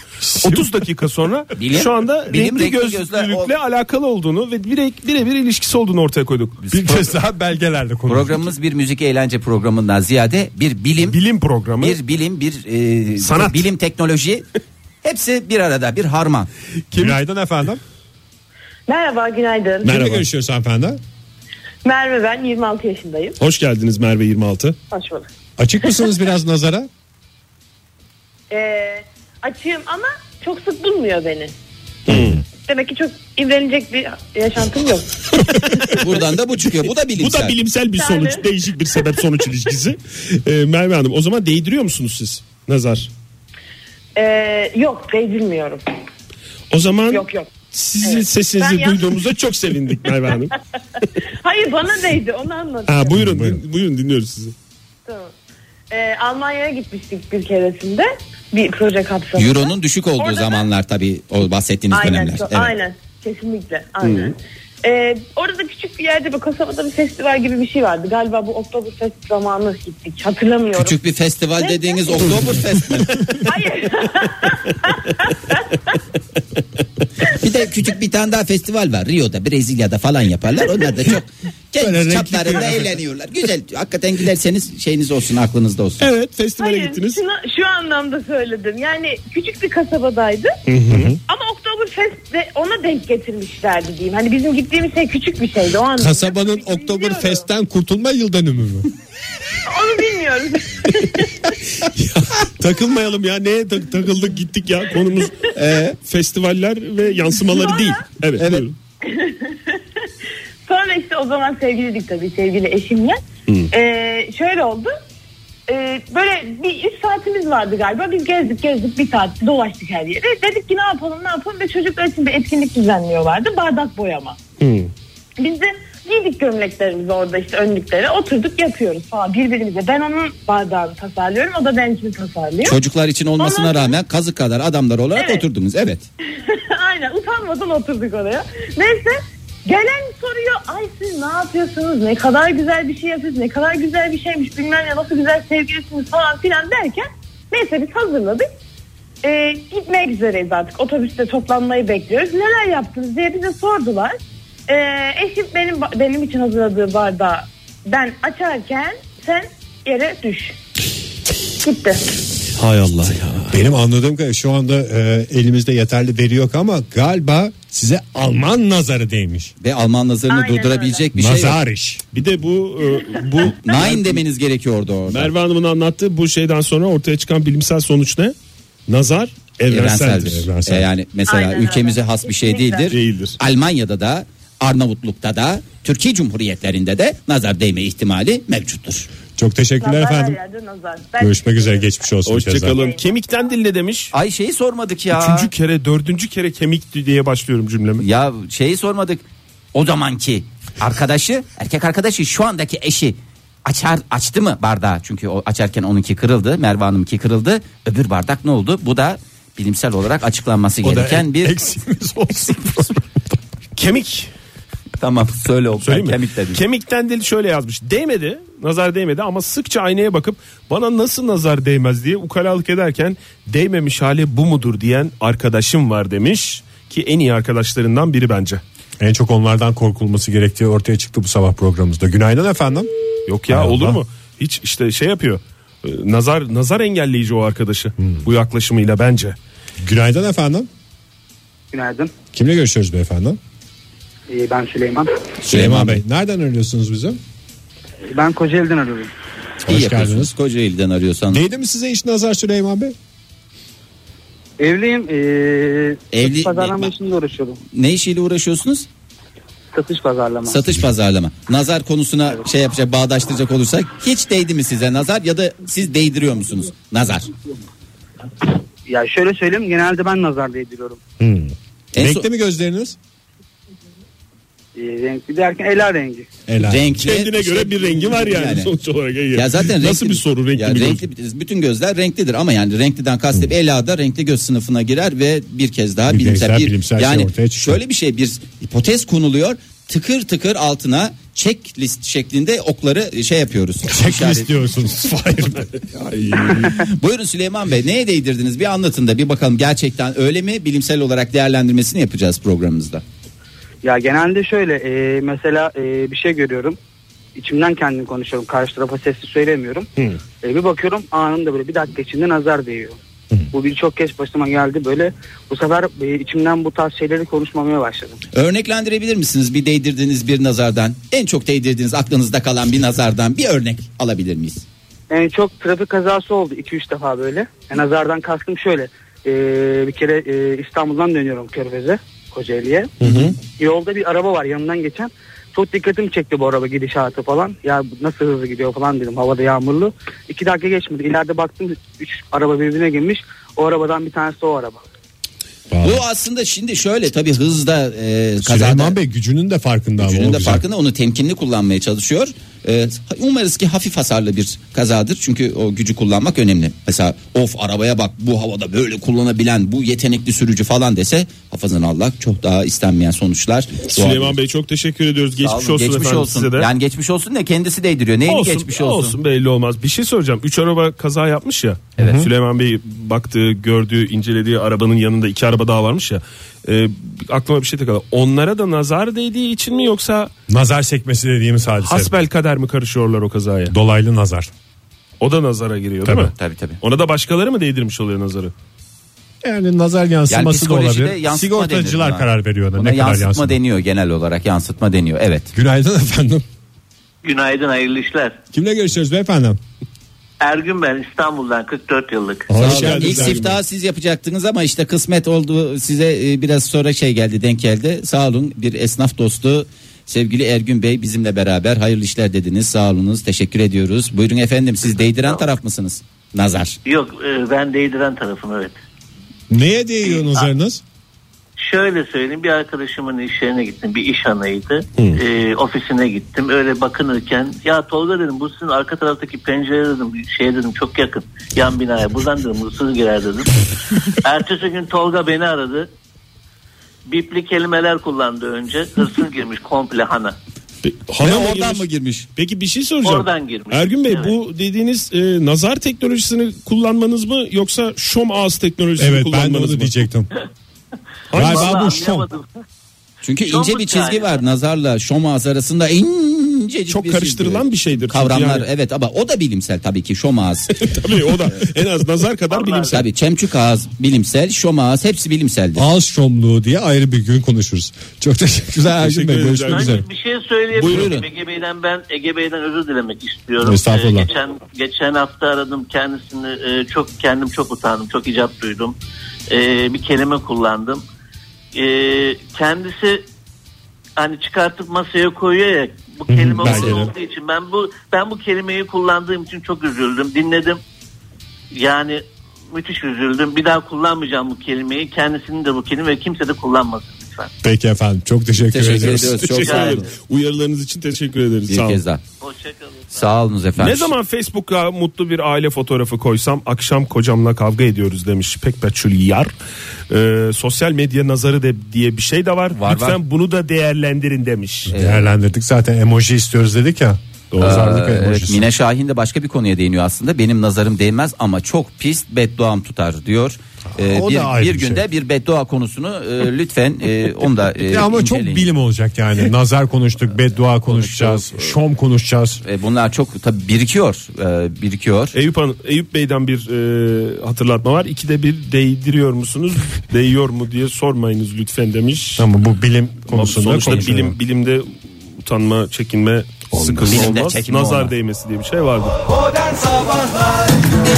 30 dakika sonra
Bilim-
şu anda
bilim
renkli,
renkli gözler-
gözlülükle alakalı olduğunu ve bire- birebir ilişkisi olduğunu ortaya koyduk.
Bir kez daha belgelerle konuştuk.
Programımız bir müzik eğlence programından ziyade bir bilim,
Bilim programı
bir bilim, bir e,
Sanat.
bilim teknoloji hepsi bir arada bir harman.
Günaydın efendim.
Merhaba, günaydın.
Merhaba.
Merhaba.
Kimle görüşüyoruz hanımefendi?
Merve ben, 26 yaşındayım.
hoş geldiniz Merve 26.
Hoş bulduk.
Açık mısınız biraz nazara?
Ee, açığım ama çok sık bulmuyor beni.
Hmm.
Demek ki çok imrenilecek bir yaşantım yok.
<laughs> Buradan da bu çıkıyor. Bu da
Bu
bilimsel.
da bilimsel bir sonuç
Yani.
değişik bir sebep sonuç ilişkisi. Ee, Merve Hanım o zaman değdiriyor musunuz siz nazar?
Ee, yok, değdirmiyorum.
O zaman
Yok yok.
Sizin sesinizi
Ben yalnız-
duyduğumuza çok sevindik Merve Hanım.
<laughs> Hayır bana değdi, onu anlatıyorum.
Ha, buyurun, buyurun buyurun dinliyoruz sizi.
Tamam. Ee, Almanya'ya gitmiştik bir keresinde. Bir proje kapsamında.
Euro'nun düşük olduğu
Orada da-
zamanlar tabii o bahsettiğiniz
Aynen,
dönemler.
çok-
Evet. Hmm.
aynen. Kesinlikle, aynen. Ee, orada da küçük bir yerde bir kasabada bir festival gibi bir şey vardı. Galiba bu Oktoberfest zamanı gittik. Hatırlamıyorum.
Küçük bir festival
Ne?
dediğiniz Oktoberfest mi?
Hayır.
Bir de küçük bir tane daha festival var. Rio'da, Brezilya'da falan yaparlar. Onlar da çok
Böyle
genç
renkli
çaplarında eğleniyorlar. Güzel. Hakikaten giderseniz şeyiniz olsun, aklınızda olsun.
<laughs> Evet festivale
Hayır,
gittiniz.
şuna- şu anlamda söyledim. Yani küçük bir kasabadaydı. Ama Oktoberfest de ona denk getirmişlerdi diyeyim. Hani bizim gittiğimiz şey küçük bir şeydi o anlamda.
Kasabanın
Bilmiyorum.
Oktoberfest'ten kurtulma yıl dönümü mü?
Onu bilmiyorum.
Takılmayalım ya neye tak- takıldık gittik
<laughs>
ya konumuz e, festivaller ve yansımaları değil. Evet, buyurun.
<laughs> Sonra işte o zaman sevgilidik tabii sevgili eşimle. Ee, şöyle oldu. Ee, böyle bir 3 saatimiz vardı galiba. Biz gezdik gezdik bir saat dolaştık her yere. Dedik ki ne yapalım ne yapalım ve çocuklar için bir etkinlik düzenliyorlardı. Bardak boyama. Biz de giydik gömleklerimizi orada işte önlüklere oturduk yapıyoruz falan birbirimize. Ben onun bardağını tasarlıyorum o da benimkini tasarlıyor.
Çocuklar için olmasına
Ama-
rağmen kazık kadar adamlar olarak
Evet.
oturdunuz. Evet.
<laughs> Aynen utanmadan oturduk oraya. Neyse gelen soruyor ay siz ne yapıyorsunuz ne kadar güzel bir şey yapıyorsunuz ne kadar güzel bir şeymiş bilmem ne nasıl güzel sevgilisiniz falan filan derken neyse biz hazırladık. e, gitmek üzereyiz artık. Otobüste toplanmayı bekliyoruz. Neler yaptınız diye bize sordular. E, eşim benim ba- benim için hazırladığı bardağı ben açarken sen yere düş. Gitti.
Hay Allah ya. Benim anladığım kadarıyla şu anda e, elimizde yeterli veri yok ama galiba size Alman nazarı değmiş.
Ve Alman nazarını
Aynen
durdurabilecek bir şey yok.
Nazar iş.
Bir de bu e, bu
Nine demeniz gerekiyordu orada.
Merve Hanım'ın anlattığı bu şeyden sonra ortaya çıkan bilimsel sonuç ne? Nazar evrenseldir.
Evrenseldir. E, yani mesela
Aynen öyle.
ülkemize has bir şey
Kesinlikle.
değildir.
Değildir.
Almanya'da da Arnavutluk'ta da Türkiye Cumhuriyetlerinde de nazar değme ihtimali mevcuttur.
Çok teşekkürler
Nazar her
efendim.
yerde nazar. Ben-
Görüşmek üzere geçmiş olsun. Şehzade.
Hoşçakalın. Kemikten dille demiş.
Ay şeyi sormadık ya.
Üçüncü kere dördüncü kere kemik diye başlıyorum cümlemi.
Ya şeyi sormadık. O zamanki arkadaşı, erkek arkadaşı şu andaki eşi açar açtı mı bardağı? Çünkü o açarken onunki kırıldı, Merve Hanım'ki kırıldı. Öbür bardak ne oldu? Bu da bilimsel olarak açıklanması
O da
gereken bir
eksiğimiz olsun.
<laughs>
Kemik.
tamam söyle o
Söyleyeyim mi?
kemik dedim.
Kemikten dil şöyle yazmış. Değmedi. Nazar değmedi ama sıkça aynaya bakıp bana nasıl nazar değmez diye ukalalık ederken değmemiş hali bu mudur diyen arkadaşım var demiş ki en iyi arkadaşlarından biri bence.
en çok onlardan korkulması gerektiği ortaya çıktı bu sabah programımızda. Günaydın efendim.
Yok ya
Hay
olur
Allah.
mu? Hiç işte şey yapıyor. e, Nazar nazar engelleyici o arkadaşı bu yaklaşımıyla bence.
Hmm. Günaydın efendim.
Günaydın.
Kimle görüşüyoruz beyefendi?
Ee, ben Süleyman.
Süleyman Bey. Nereden arıyorsunuz bizi?
Ben Kocaeli'den arıyorum.
İyi
Hoş
yapıyorsunuz.
geldiniz.
Kocaeli'den arıyorsan.
Değdi mi size hiç nazar Süleyman Bey?
Evliyim. Ee,
Evli-
satış pazarlama
Ne-
işinde uğraşıyorum.
Ne işiyle uğraşıyorsunuz?
Satış pazarlama.
Satış pazarlama. Nazar konusuna şey yapacak, bağdaştıracak olursak hiç değdi mi size nazar ya da siz değdiriyor musunuz nazar?
ya şöyle söyleyeyim genelde ben nazar değdiriyorum.
En
Renkli
son-
mi gözleriniz?
Ee, renkli derken ela rengi.
Helal.
Renkli.
Kendine göre bir rengi var yani,
Yani.
sonuç olarak. Ege.
Ya zaten
Nasıl
renkli-
bir soru renkli
ya
bir göz?
renkli bütün gözler renklidir ama yani renkliden kastettiğim Ela da renkli göz sınıfına girer ve bir kez daha
Bir
bilimsel
kez daha bilimsel şey
yani
ortaya çıkıyor.
şöyle bir şey bir hipotez konuluyor. Tıkır tıkır altına checklist şeklinde okları şey yapıyoruz. İşaret-
Checklist diyorsunuz. <laughs> Hayır.
<laughs> Buyurun Süleyman Bey neye değdirdiniz bir anlatın da bir bakalım gerçekten öyle mi bilimsel olarak değerlendirmesini yapacağız programımızda.
Ya genelde şöyle e, mesela e, bir şey görüyorum. İçimden kendim konuşuyorum. Karşı tarafa sesli söylemiyorum. E, bir bakıyorum anında böyle bir dakika içinde nazar değiyor. Bu birçok kez başıma geldi böyle. Bu sefer e, içimden bu tarz şeyleri konuşmamaya başladım.
Örneklendirebilir misiniz bir değdirdiğiniz bir nazardan en çok değdirdiğiniz aklınızda kalan bir nazardan bir örnek alabilir miyiz?
Yani çok trafik kazası oldu 2-3 defa böyle. E, nazardan kastım şöyle. E, bir kere e, İstanbul'dan dönüyorum Körfez'e, Kocaeli'ye. Yolda bir araba var yanından geçen. Çok dikkatimi çekti bu araba gidişatı falan. Ya bu nasıl hızlı gidiyor falan dedim. Havada yağmurlu. İki dakika geçmedi. İleride baktım üç araba birbirine girmiş. O arabadan bir tanesi o araba.
Bu aslında şimdi şöyle tabii hızda e, kazada
Süleyman Bey gücünün de farkında. ama
gücünün
o
de
güzel.
farkında onu temkinli kullanmaya çalışıyor. E, umarız ki hafif hasarlı bir kazadır çünkü o gücü kullanmak önemli. Mesela of arabaya bak bu havada böyle kullanabilen bu yetenekli sürücü falan dese hafazan Allah çok daha istenmeyen sonuçlar.
Süleyman Bey çok teşekkür ediyoruz.
Sağ
Geçmiş
olun,
olsun efendim size de.
Yani geçmiş olsun ne kendisi değdiriyor. Neyini
olsun,
geçmiş olsun.
olsun belli olmaz. Bir şey soracağım. Üç araba kaza yapmış ya. Süleyman Bey baktığı, gördüğü, incelediği arabanın yanında iki araba daha varmış ya. Ee, aklıma bir şey takıldı. Onlara da nazar değdiği için mi yoksa
Nazar sekmesi dediğimiz hadise.
hasbel kader mi karışıyorlar o kazaya?
Dolaylı nazar.
O da nazara giriyor
Tabii.
değil mi?
Tabii tabii.
Ona da başkaları mı değdirmiş oluyor nazarı?
Yani nazar yansıması da
psikolojide
olabilir.
yansıtma denir
Sigortacılar
buna.
karar veriyor ona
Buna
ne kadar
yansıtma
yansıma.
deniyor genel olarak yansıtma deniyor evet.
Günaydın <laughs> efendim.
Günaydın hayırlı işler.
Kimle görüşüyoruz beyefendi?
Ergün ben İstanbul'dan 44 yıllık.
Sağ
Hoş
olun.
geldiniz.
İlk siftahı siz yapacaktınız ama işte kısmet oldu size e, biraz sonra şey geldi denk geldi. Sağ olun bir esnaf dostu sevgili Ergün Bey bizimle beraber hayırlı işler dediniz. Sağ olunuz teşekkür ediyoruz. Buyurun efendim siz değdiren taraf mısınız? Nazar.
Yok e, ben değdiren tarafım evet.
Neye değiyor nazarınız?
Şöyle söyleyeyim bir arkadaşımın iş yerine gittim bir iş anıydı Ee, ofisine gittim öyle bakınırken ya Tolga dedim bu sizin arka taraftaki pencere dedim şey dedim çok yakın yan binaya buradan dedim hırsız
<laughs>
girer dedim ertesi gün Tolga beni aradı bipli kelimeler kullandı önce hırsız girmiş komple hana
Pe-
Ve
Han'a mı
oradan
girmiş?
mı girmiş?
Peki bir şey soracağım.
Oradan girmiş.
Ergün Bey
Evet.
bu dediğiniz e, nazar teknolojisini kullanmanız mı yoksa şom ağız teknolojisini
Evet ben de
kullanmanız
onu
mı? <laughs>
diyecektim.
Vallahi
Galiba bu şom.
anlayamadım.
Çünkü
Şomut
ince bir çizgi
yani.
var nazarla şomaz arasında incecik
Çok
bir
karıştırılan
çizgi.
bir şeydir çünkü
Kavramlar
yani.
evet ama o da bilimsel tabii ki şomaz.
<laughs> Tabii o da en az nazar kadar bilimsel.
tabii çemçük ağız bilimsel, şomaz hepsi bilimseldir.
Ağız şomluğu diye ayrı bir gün konuşuruz. Çok teşekkürler
<laughs>
Ergün Bey.
Teşekkür ederiz
Görüşmek
Ergün
üzere.
Bir şey söyleyebilirim.
Buyurun.
Ege Bey'den ben Ege Bey'den özür dilemek istiyorum.
Estağfurullah.
Ee, geçen geçen hafta aradım kendisini Ee, çok kendim çok utandım. Çok icap duydum. Ee, bir kelime kullandım. Ee, kendisi hani çıkartıp masaya koyuyor ya bu kelime
ben
onun
gelirim.
olduğu için ben bu ben bu kelimeyi kullandığım için çok üzüldüm. Dinledim. Yani müthiş üzüldüm. Bir daha kullanmayacağım bu kelimeyi. Kendisinin de bu kelime kimse de kullanmasın lütfen.
Peki efendim çok teşekkür,
Teşekkür
ediyoruz.
ediyoruz. Çok
Teşekkür
sağ
ederim.
olun.
Uyarılarınız için teşekkür ederiz.
Bir
Sağ olun.
kez daha.
Hoşçakalın.
Sağ olunuz efendim.
Ne zaman Facebook'a mutlu bir aile fotoğrafı koysam akşam kocamla kavga ediyoruz demiş Pekpeçül Yar. Ee, sosyal medya nazarı de, diye bir şey de var.
Var,
Lütfen bunu da değerlendirin demiş.
Ee, Değerlendirdik zaten emoji istiyoruz dedik ya. Doğru
Ee,
zardık
evet,
emojisi.
Mine Şahin de başka bir konuya değiniyor aslında. Benim nazarım değmez ama çok pis bedduam tutar diyor. Ee,
o da
bir,
ayrı
bir
bir
günde
şey.
bir beddua konusunu e, lütfen e, onu da e,
Ya ama çok
inceleyin.
bilim olacak yani. Nazar konuştuk, beddua konuşacağız, şom konuşacağız.
E, bunlar çok tabii birikiyor. e, birikiyor.
Eyüp, Han- Eyüp Bey'den bir e, hatırlatma var. İkide bir değdiriyor
<laughs>
musunuz? Değiyor mu diye sormayınız lütfen demiş.
Ama bu bilim
Ama
konusunda
Sonuçta
konuşuyor.
bilim, bilimde utanma, çekinme, sıkılma
Bilimde
olmaz.
çekinme
Nazar
olmaz.
değmesi diye bir şey vardır.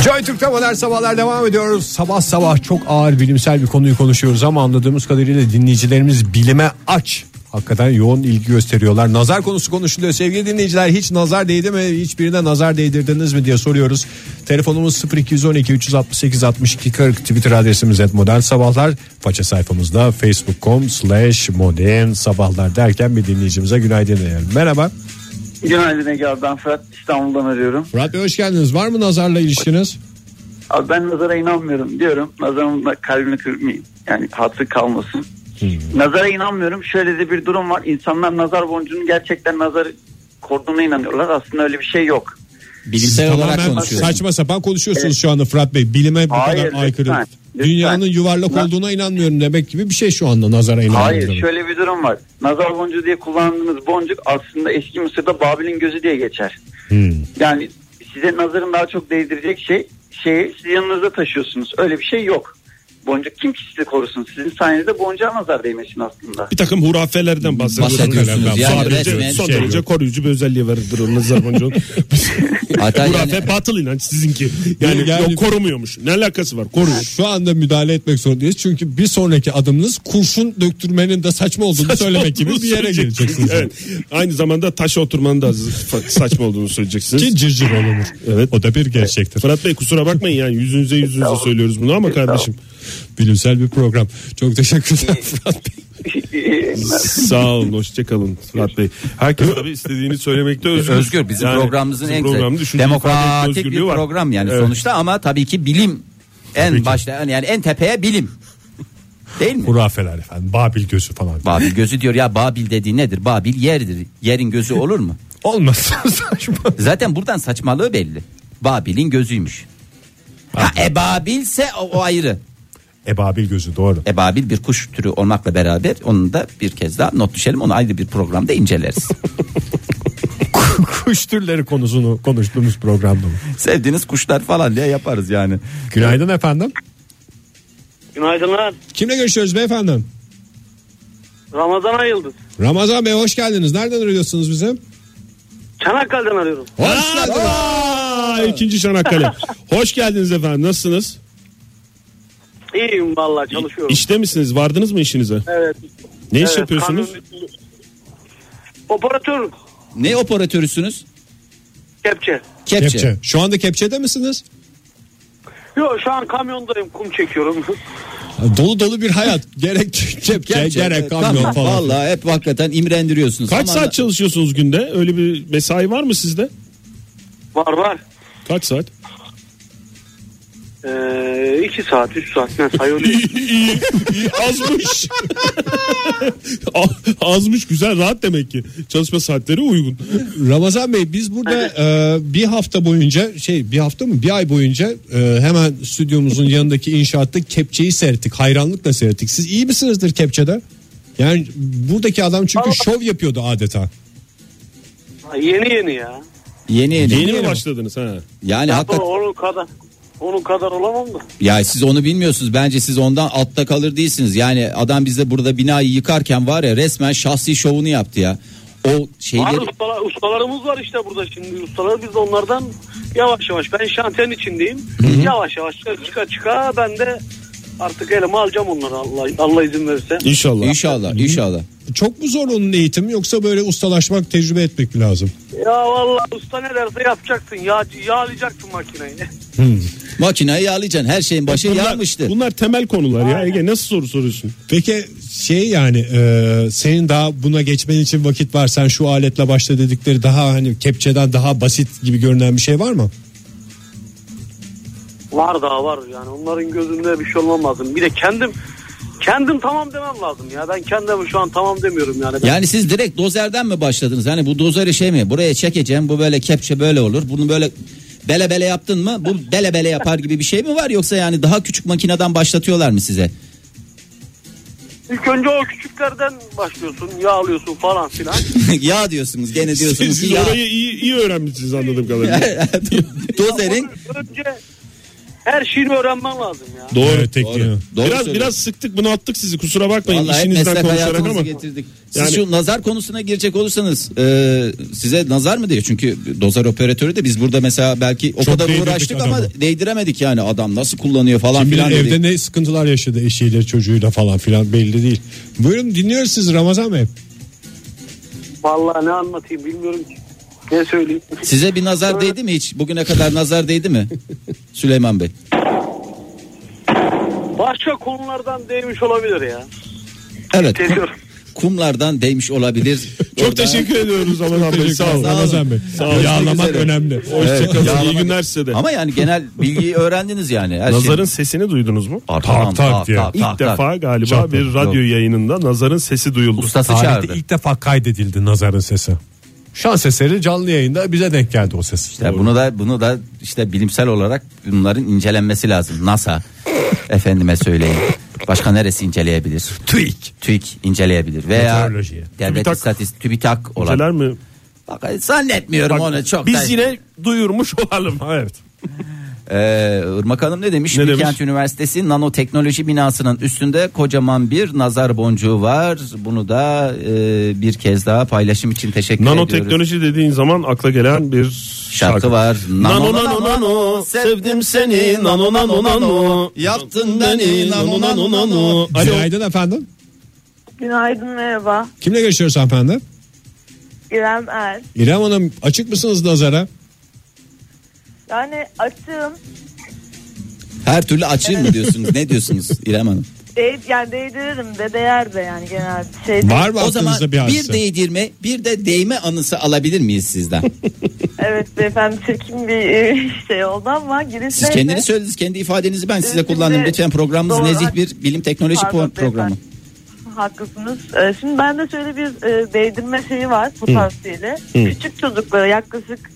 Joy Türk'te modern sabahlar devam ediyoruz. Sabah sabah çok ağır bilimsel bir konuyu konuşuyoruz ama anladığımız kadarıyla dinleyicilerimiz bilime aç. Hakikaten yoğun ilgi gösteriyorlar. Nazar konusu konuşuluyor. Sevgili dinleyiciler hiç nazar değdi mi? Hiçbirine nazar değdirdiniz mi diye soruyoruz. Telefonumuz 0212 368 62 40 Twitter adresimiz et modern sabahlar. Faça sayfamızda facebook.com slash modern sabahlar derken bir dinleyicimize günaydın diyelim. Merhaba.
Günaydın Ege abi ben Fırat İstanbul'dan arıyorum.
Murat Bey hoş geldiniz. Var mı nazarla ilişkiniz?
Abi ben nazara inanmıyorum diyorum. Nazarımla kalbini kırmayayım. Yani hatırı kalmasın.
Hmm.
Nazara inanmıyorum. Şöyle de bir durum var. İnsanlar nazar boncuğunu gerçekten nazar korduğuna inanıyorlar. Aslında öyle bir şey yok. Şey
Bilimsel
Siz
olarak
tamamen
konuşuyoruz.
Saçma sapan konuşuyorsunuz şu anda Fırat Bey. Bilime bu
Hayır,
kadar aykırı.
lütfen, lütfen.
Dünyanın yuvarlak
Lütfen.
olduğuna inanmıyorum demek gibi bir şey şu anda nazara inanmıyorum.
Hayır şöyle bir durum var. Nazar boncuğu diye kullandığınız boncuk aslında eski Mısır'da Babil'in gözü diye geçer. Yani size nazarın daha çok değdirecek şey şeyi siz yanınızda taşıyorsunuz. Öyle bir şey yok. Boncuk kim ki sizi korusun? Sizin sayenizde boncuğa nazar değmesin aslında.
Bir takım hurafelerden bahsediyoruz.
Bahsediyorsunuz
Ben
yani
son derece,
resmen
son
şey
derece koruyucu bir özelliği vardır o nazar boncuğunun.
Hatta
<laughs> Hurafe
yani-
batıl inanç sizinki. Yani,
Yani-
yok korumuyormuş. Ne alakası var? Koruyor.
Şu anda müdahale etmek zorundayız. Çünkü bir sonraki adımınız kurşun döktürmenin de saçma olduğunu söylemek gibi bir yere geleceksiniz.
Evet. Aynı zamanda taşa oturmanın da fa- saçma olduğunu söyleyeceksiniz.
Ki cırcır olunur.
Evet.
O da bir gerçektir.
Fırat Bey kusura bakmayın yani yüzünüze yüzünüze söylüyoruz bunu ama kardeşim.
Bilimsel bir program. Çok teşekkürler
Ee,
Fırat Bey.
Sağ olun, hoşça kalın Fırat Bey. Herkes tabii istediğini söylemekte özgür.
Özgür bizim
Yani
programımızın
bizim
en
programda
güzel.
düşünce ifade etme
Demokratik bir
özgürlüğü var.
program yani
Evet.
sonuçta ama tabii ki bilim en başta yani en tepeye bilim. Değil mi?
<laughs> Hurafeler efendim. Babil gözü falan.
Babil gözü diyor ya Babil dediği nedir? Babil yerdir. Yerin gözü olur mu?
Olmaz. <laughs> saçma.
Zaten buradan saçmalığı belli. Babil'in gözüymüş. Ha, ebabilse o, o ayrı.
E Babil gözü doğru.
Ebabil bir kuş türü olmakla beraber onu da bir kez daha not düşelim. Onu ayrı bir programda inceleriz.
<laughs> Kuş türleri konusunu konuştuğumuz programda mı?
Sevdiğiniz kuşlar falan diye yaparız yani.
Günaydın efendim.
Günaydınlar.
Kimle görüşüyoruz beyefendi?
Ramazan ayıldı.
Ramazan Bey hoş geldiniz. Nereden arıyorsunuz bize?
Çanakkale'den arıyorum.
Hoş geldiniz.
Aa, ikinci Çanakkale. Hoş geldiniz efendim. Nasılsınız?
İyiyim vallahi çalışıyorum.
İşte misiniz? Vardınız mı işinize?
Evet.
Ne iş
Evet,
yapıyorsunuz?
kamyon- Operatör
Ne operatörüsünüz?
kepçe.
Kepçe.
Kepçe. Şu anda kepçede misiniz?
Yok şu an kamyondayım kum çekiyorum. <laughs>
Dolu dolu bir hayat. Gerek kepçe,
Kepçe,
gerek
evet,
kamyon
tamam.
falan.
Vallahi hep hakikaten imrendiriyorsunuz.
Kaç
Ama-
saat çalışıyorsunuz günde? Öyle bir mesai var mı sizde?
Var var.
Kaç saat?
Ee, iki saat, üç saat. Ben sayıyorum.
İyi, iyi, azmış. A- azmış güzel rahat demek ki. Çalışma saatleri uygun.
Ramazan Bey biz burada e, bir hafta boyunca şey bir hafta mı bir ay boyunca e, hemen stüdyomuzun yanındaki inşaatta kepçeyi seyrettik. Hayranlıkla seyrettik. Siz iyi misinizdir kepçede? Yani buradaki adam çünkü şov yapıyordu adeta.
yeni yeni ya.
Yeni yeni.
Yeni mi başladınız ha?
Yani
Yapma,
hakikaten
onun kadar onun kadar olamam da.
ya siz onu bilmiyorsunuz. Bence siz ondan altta kalır değilsiniz. Yani adam bizde burada binayı yıkarken var ya resmen şahsi şovunu yaptı ya. O
Var
şeyleri
ustalar, ustalarımız var işte burada şimdi. Ustalar biz de onlardan yavaş yavaş. Ben şantiyenin içindeyim. Yavaş yavaş çıka- çıka çıka ben de artık elime alacağım onları Allah, Allah izin verirse.
İnşallah.
inşallah inşallah.
Çok mu zor onun eğitimi yoksa böyle ustalaşmak tecrübe etmek mi lazım?
Ya vallahi usta ne derse yapacaksın. Yağ, yağlayacaksın makineyi. <laughs>
Makineyi yağlayacaksın. Her şeyin başı
bunlar,
yanmıştı.
bunlar temel konular ya. Ege nasıl soru soruyorsun?
Peki şey yani e, senin daha buna geçmen için vakit var. Sen şu aletle başla dedikleri daha hani kepçeden daha basit gibi görünen bir şey var mı?
Var daha var yani onların gözünde bir şey olmam lazım. Bir de kendim kendim tamam demem lazım ya. Ben kendime şu an tamam demiyorum yani. Ben
Yani siz direkt dozerden mi başladınız? Hani bu dozeri şey mi? Buraya çekeceğim. Bu böyle kepçe böyle olur. Bunu böyle bele bele yaptın mı? Bu bele bele yapar gibi bir şey mi var? Yoksa yani daha küçük makineden başlatıyorlar mı size?
İlk önce o küçüklerden başlıyorsun, yağlıyorsun falan filan.
ya diyorsunuz gene diyorsunuz
Siz
ki ya.
orayı iyi, iyi öğrenmişsiniz anladığım kadarıyla.
<laughs> Dozerin
Önce her şeyini öğrenmen lazım ya.
Doğru.
Evet, tekniği.
Doğru
biraz
söylüyorsun.
biraz sıktık bunu attık sizi kusura bakmayın
Vallahi hep
işinizden
meslek
konuşarak
hayatımızı
ama.
getirdik. Siz
Yani-
şu nazar konusuna girecek olursanız e, size nazar mı diyor? Çünkü dozer operatörü de biz burada mesela belki o
Çok
kadar
değdirdik
uğraştık ama
adamı.
değdiremedik yani adam nasıl kullanıyor falan
Kim bilir
filan
evde
dedik.
ne sıkıntılar yaşadı eşiyle çocuğuyla falan filan belli değil. Buyurun dinliyoruz siz Ramazan Bey.
Vallahi ne anlatayım bilmiyorum ki. Ne söyleyeyim?
Size bir nazar değdi mi hiç? Bugüne kadar nazar değdi mi? Süleyman Bey.
Başka konulardan değmiş olabilir ya.
Evet. kum-
Geliyorum.
kumlardan değmiş olabilir.
Çok
Orada-
<laughs> teşekkür ediyoruz Ramazan Bey sağ olun.
Sağ olun.
Ramazan Bey.
Sağ olun.
Yağlamak
Görüşmek üzere.
önemli.
Hoşçakalın iyi
yağlama-
günler size de.
Ama
<laughs>
yani genel bilgiyi öğrendiniz yani. Her
Nazar'ın
şey.
sesini duydunuz mu?
Aa, tamam,
Tak, tak diye.
İlk
tak,
defa
tak.
galiba
Çok
bir
doğru.
radyo yayınında Nazar'ın sesi duyuldu.
ustası çağırdı.
Tarihte ilk defa kaydedildi nazarın sesi. Şans eseri canlı yayında bize denk geldi o ses.
Ya bunu da bunu da işte bilimsel olarak bunların incelenmesi
<laughs>
lazım. NASA efendime söyleyin. Başka neresi inceleyebilir? TÜİK. TÜİK inceleyebilir veya
Meteoroloji.
Devlet
TÜBİTAK.
İstatistik TÜBİTAK
Şeyler
olan.
mi?
Bak, zannetmiyorum
Bak,
onu çok.
biz
da-
yine duyurmuş olalım. <laughs> Evet.
Ee, Irmak Hanım ne demiş?
Ne
Bilkent
demiş?
Üniversitesi Nanoteknoloji binasının üstünde kocaman bir nazar boncuğu var. Bunu da e, bir kez daha paylaşım için teşekkür ediyoruz.
Nanoteknoloji dediğin zaman akla gelen bir
Şarkı
şarkı
var.
Nano nano nano sevdim seni nano nano nano
Yaptın beni, nano, nano, nano.
Alo
Günaydın efendim.
Günaydın merhaba.
Kimle görüşüyoruz hanımefendi?
İrem Er.
İrem Hanım açık mısınız nazara?
Yani açığım.
Her türlü açayım mı diyorsunuz? ne diyorsunuz İrem Hanım?
Değ yani değdiririm de değer de yani genel bir şey. değil.
Var mı
O zaman
aklınızda bir
bir,
hadise?
değdirme bir de değme anısı alabilir miyiz sizden?
Evet beyefendi çirkin bir e, <laughs> şey oldu ama girişte.
Siz kendiniz söylediniz kendi ifadenizi ben size
Ee,
kullandım.
şimdi-
Lütfen programımız
Doğru.
nezih bir bilim teknoloji
Pardon,
pro- programı.
Haklısınız. Ee, Şimdi bende şöyle bir e, değdirme şeyi var potansiyeli. Küçük çocuklara yaklaşık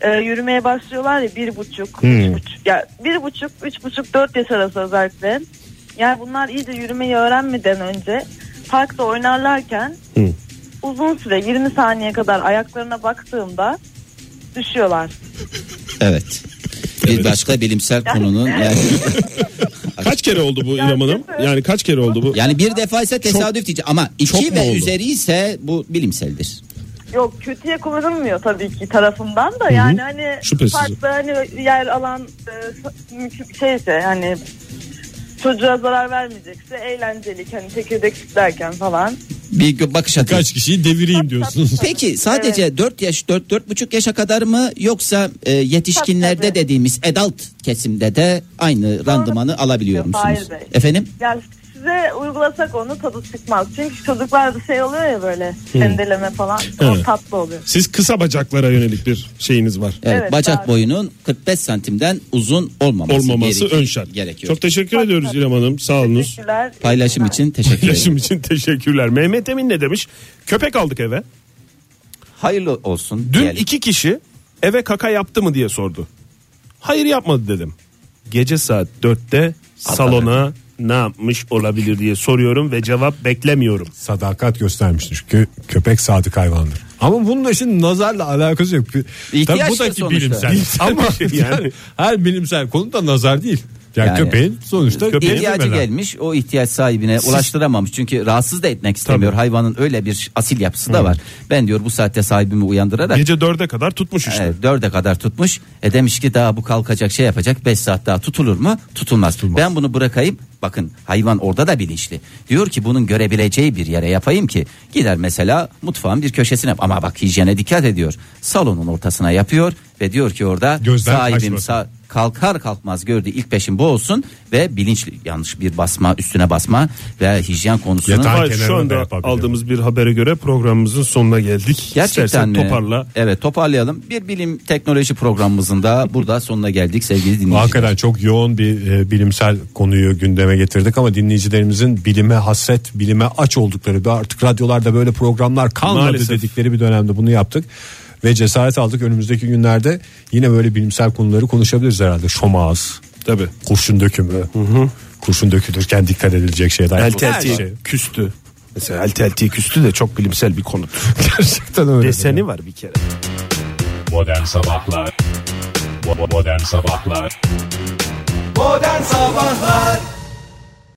e, yürümeye başlıyorlar ya bir buçuk, üç buçuk. Ya bir buçuk, üç buçuk, dört yaş arası özellikle. Yani bunlar iyice yürümeyi öğrenmeden önce parkta oynarlarken uzun süre 20 saniye kadar ayaklarına baktığımda düşüyorlar.
Evet. Bir başka bilimsel konunun <laughs> yani,
kaç kere oldu bu İrem Hanım? Yani kaç kere oldu bu?
yani bir defa ise tesadüf diyeceğim ama
çok
iki
mu
ve
oldu?
üzeri ise bu bilimseldir.
Yok kötüye kullanılmıyor tabii ki tarafımdan da yani hani
Şüphesiz.
farklı hani yer alan e, sa- mümkün şeyse hani çocuğa zarar vermeyecekse eğlencelik hani tekirdek çitlerken falan.
Bir gö- bakış atın.
Kaç kişiyi devireyim diyorsunuz.
Peki sadece 4 yaş 4 4,5 yaşa kadar mı yoksa e, yetişkinlerde
Tabii.
dediğimiz adult kesimde de aynı randımanı alabiliyor
Yok, hayır
musunuz?
bey.
Efendim?
Ya size uygulasak onu tadı çıkmaz. Çünkü çocuklarda şey oluyor ya böyle
Hı.
sendeleme falan.
Evet.
O tatlı oluyor.
Siz kısa bacaklara yönelik bir şeyiniz var.
Evet,
Evet,
bacak
abi.
boyunun 45 santimden uzun olmaması,
Olmaması
gerek-
ön şart.
gerekiyor.
Çok teşekkür ediyoruz İrem Hanım. Sağ olunuz.
Paylaşım için teşekkür ederim.
Paylaşım için teşekkürler. Mehmet Emin ne demiş? Köpek aldık eve.
Hayırlı olsun.
Dün iki kişi eve kaka yaptı mı diye sordu. Hayır yapmadı dedim. Gece saat 4'te salona ne yapmış olabilir diye soruyorum ve cevap beklemiyorum.
Sadakat göstermiştir. Çünkü köpek sadık hayvandır. Ama bunun da şimdi nazarla alakası yok. Bir-
İhtiyaçtır
Tabii bu da ki
sonuçta.
bilimsel.
Bilimsel
Ama
bir şey yani.
<laughs> yani. her bilimsel konu da nazar değil. Yani,
Yani.
köpeğin sonuçta
İhtiyacı
bilmeler.
gelmiş o ihtiyaç sahibine ulaştıramamış çünkü rahatsız da etmek istemiyor hayvanın öyle bir asil yapısı da var ben diyor bu saatte sahibimi uyandırarak
Gece dörde kadar tutmuş işte.
Evet, dörde kadar tutmuş. E demiş ki daha bu kalkacak şey yapacak 5 saat daha tutulur mu? Tutulmaz. Ben bunu bırakayım. Bakın hayvan orada da bilinçli. Diyor ki bunun görebileceği bir yere yapayım ki gider mesela mutfağın bir köşesine ama bak hijyene dikkat ediyor. Salonun ortasına yapıyor ve diyor ki orada
Gözden
sahibim
kaçmasın.
sa- kalkar kalkmaz gördü ilk peşin bu olsun ve bilinçli yanlış bir basma üstüne basma ve hijyen konusunun
Hayır, şu anda aldığımız bir habere göre programımızın sonuna geldik.
Gerçekten
İstersen
mi?
toparla.
Evet toparlayalım. Bir bilim teknoloji programımızın da burada sonuna geldik sevgili
Bu
dinleyiciler.
Hakikaten çok yoğun bir e, bilimsel konuyu gündeme getirdik ama dinleyicilerimizin bilime hasret, bilime aç oldukları ve artık radyolarda böyle programlar kalmadı
Maalesef.
dedikleri bir dönemde bunu yaptık. Ve cesaret aldık önümüzdeki günlerde yine böyle bilimsel konuları konuşabiliriz herhalde. Şomağız,
Tabii.
kurşun dökümü, kurşun dökülürken dikkat edilecek şeyler.
Elti
Her
eltiye
şey.
küstü. Mesela elti eltiye küstü de çok bilimsel bir konudur.
<laughs> Gerçekten öyle.
Deseni var bir kere.
Modern Sabahlar Bo- Modern Sabahlar
Modern Sabahlar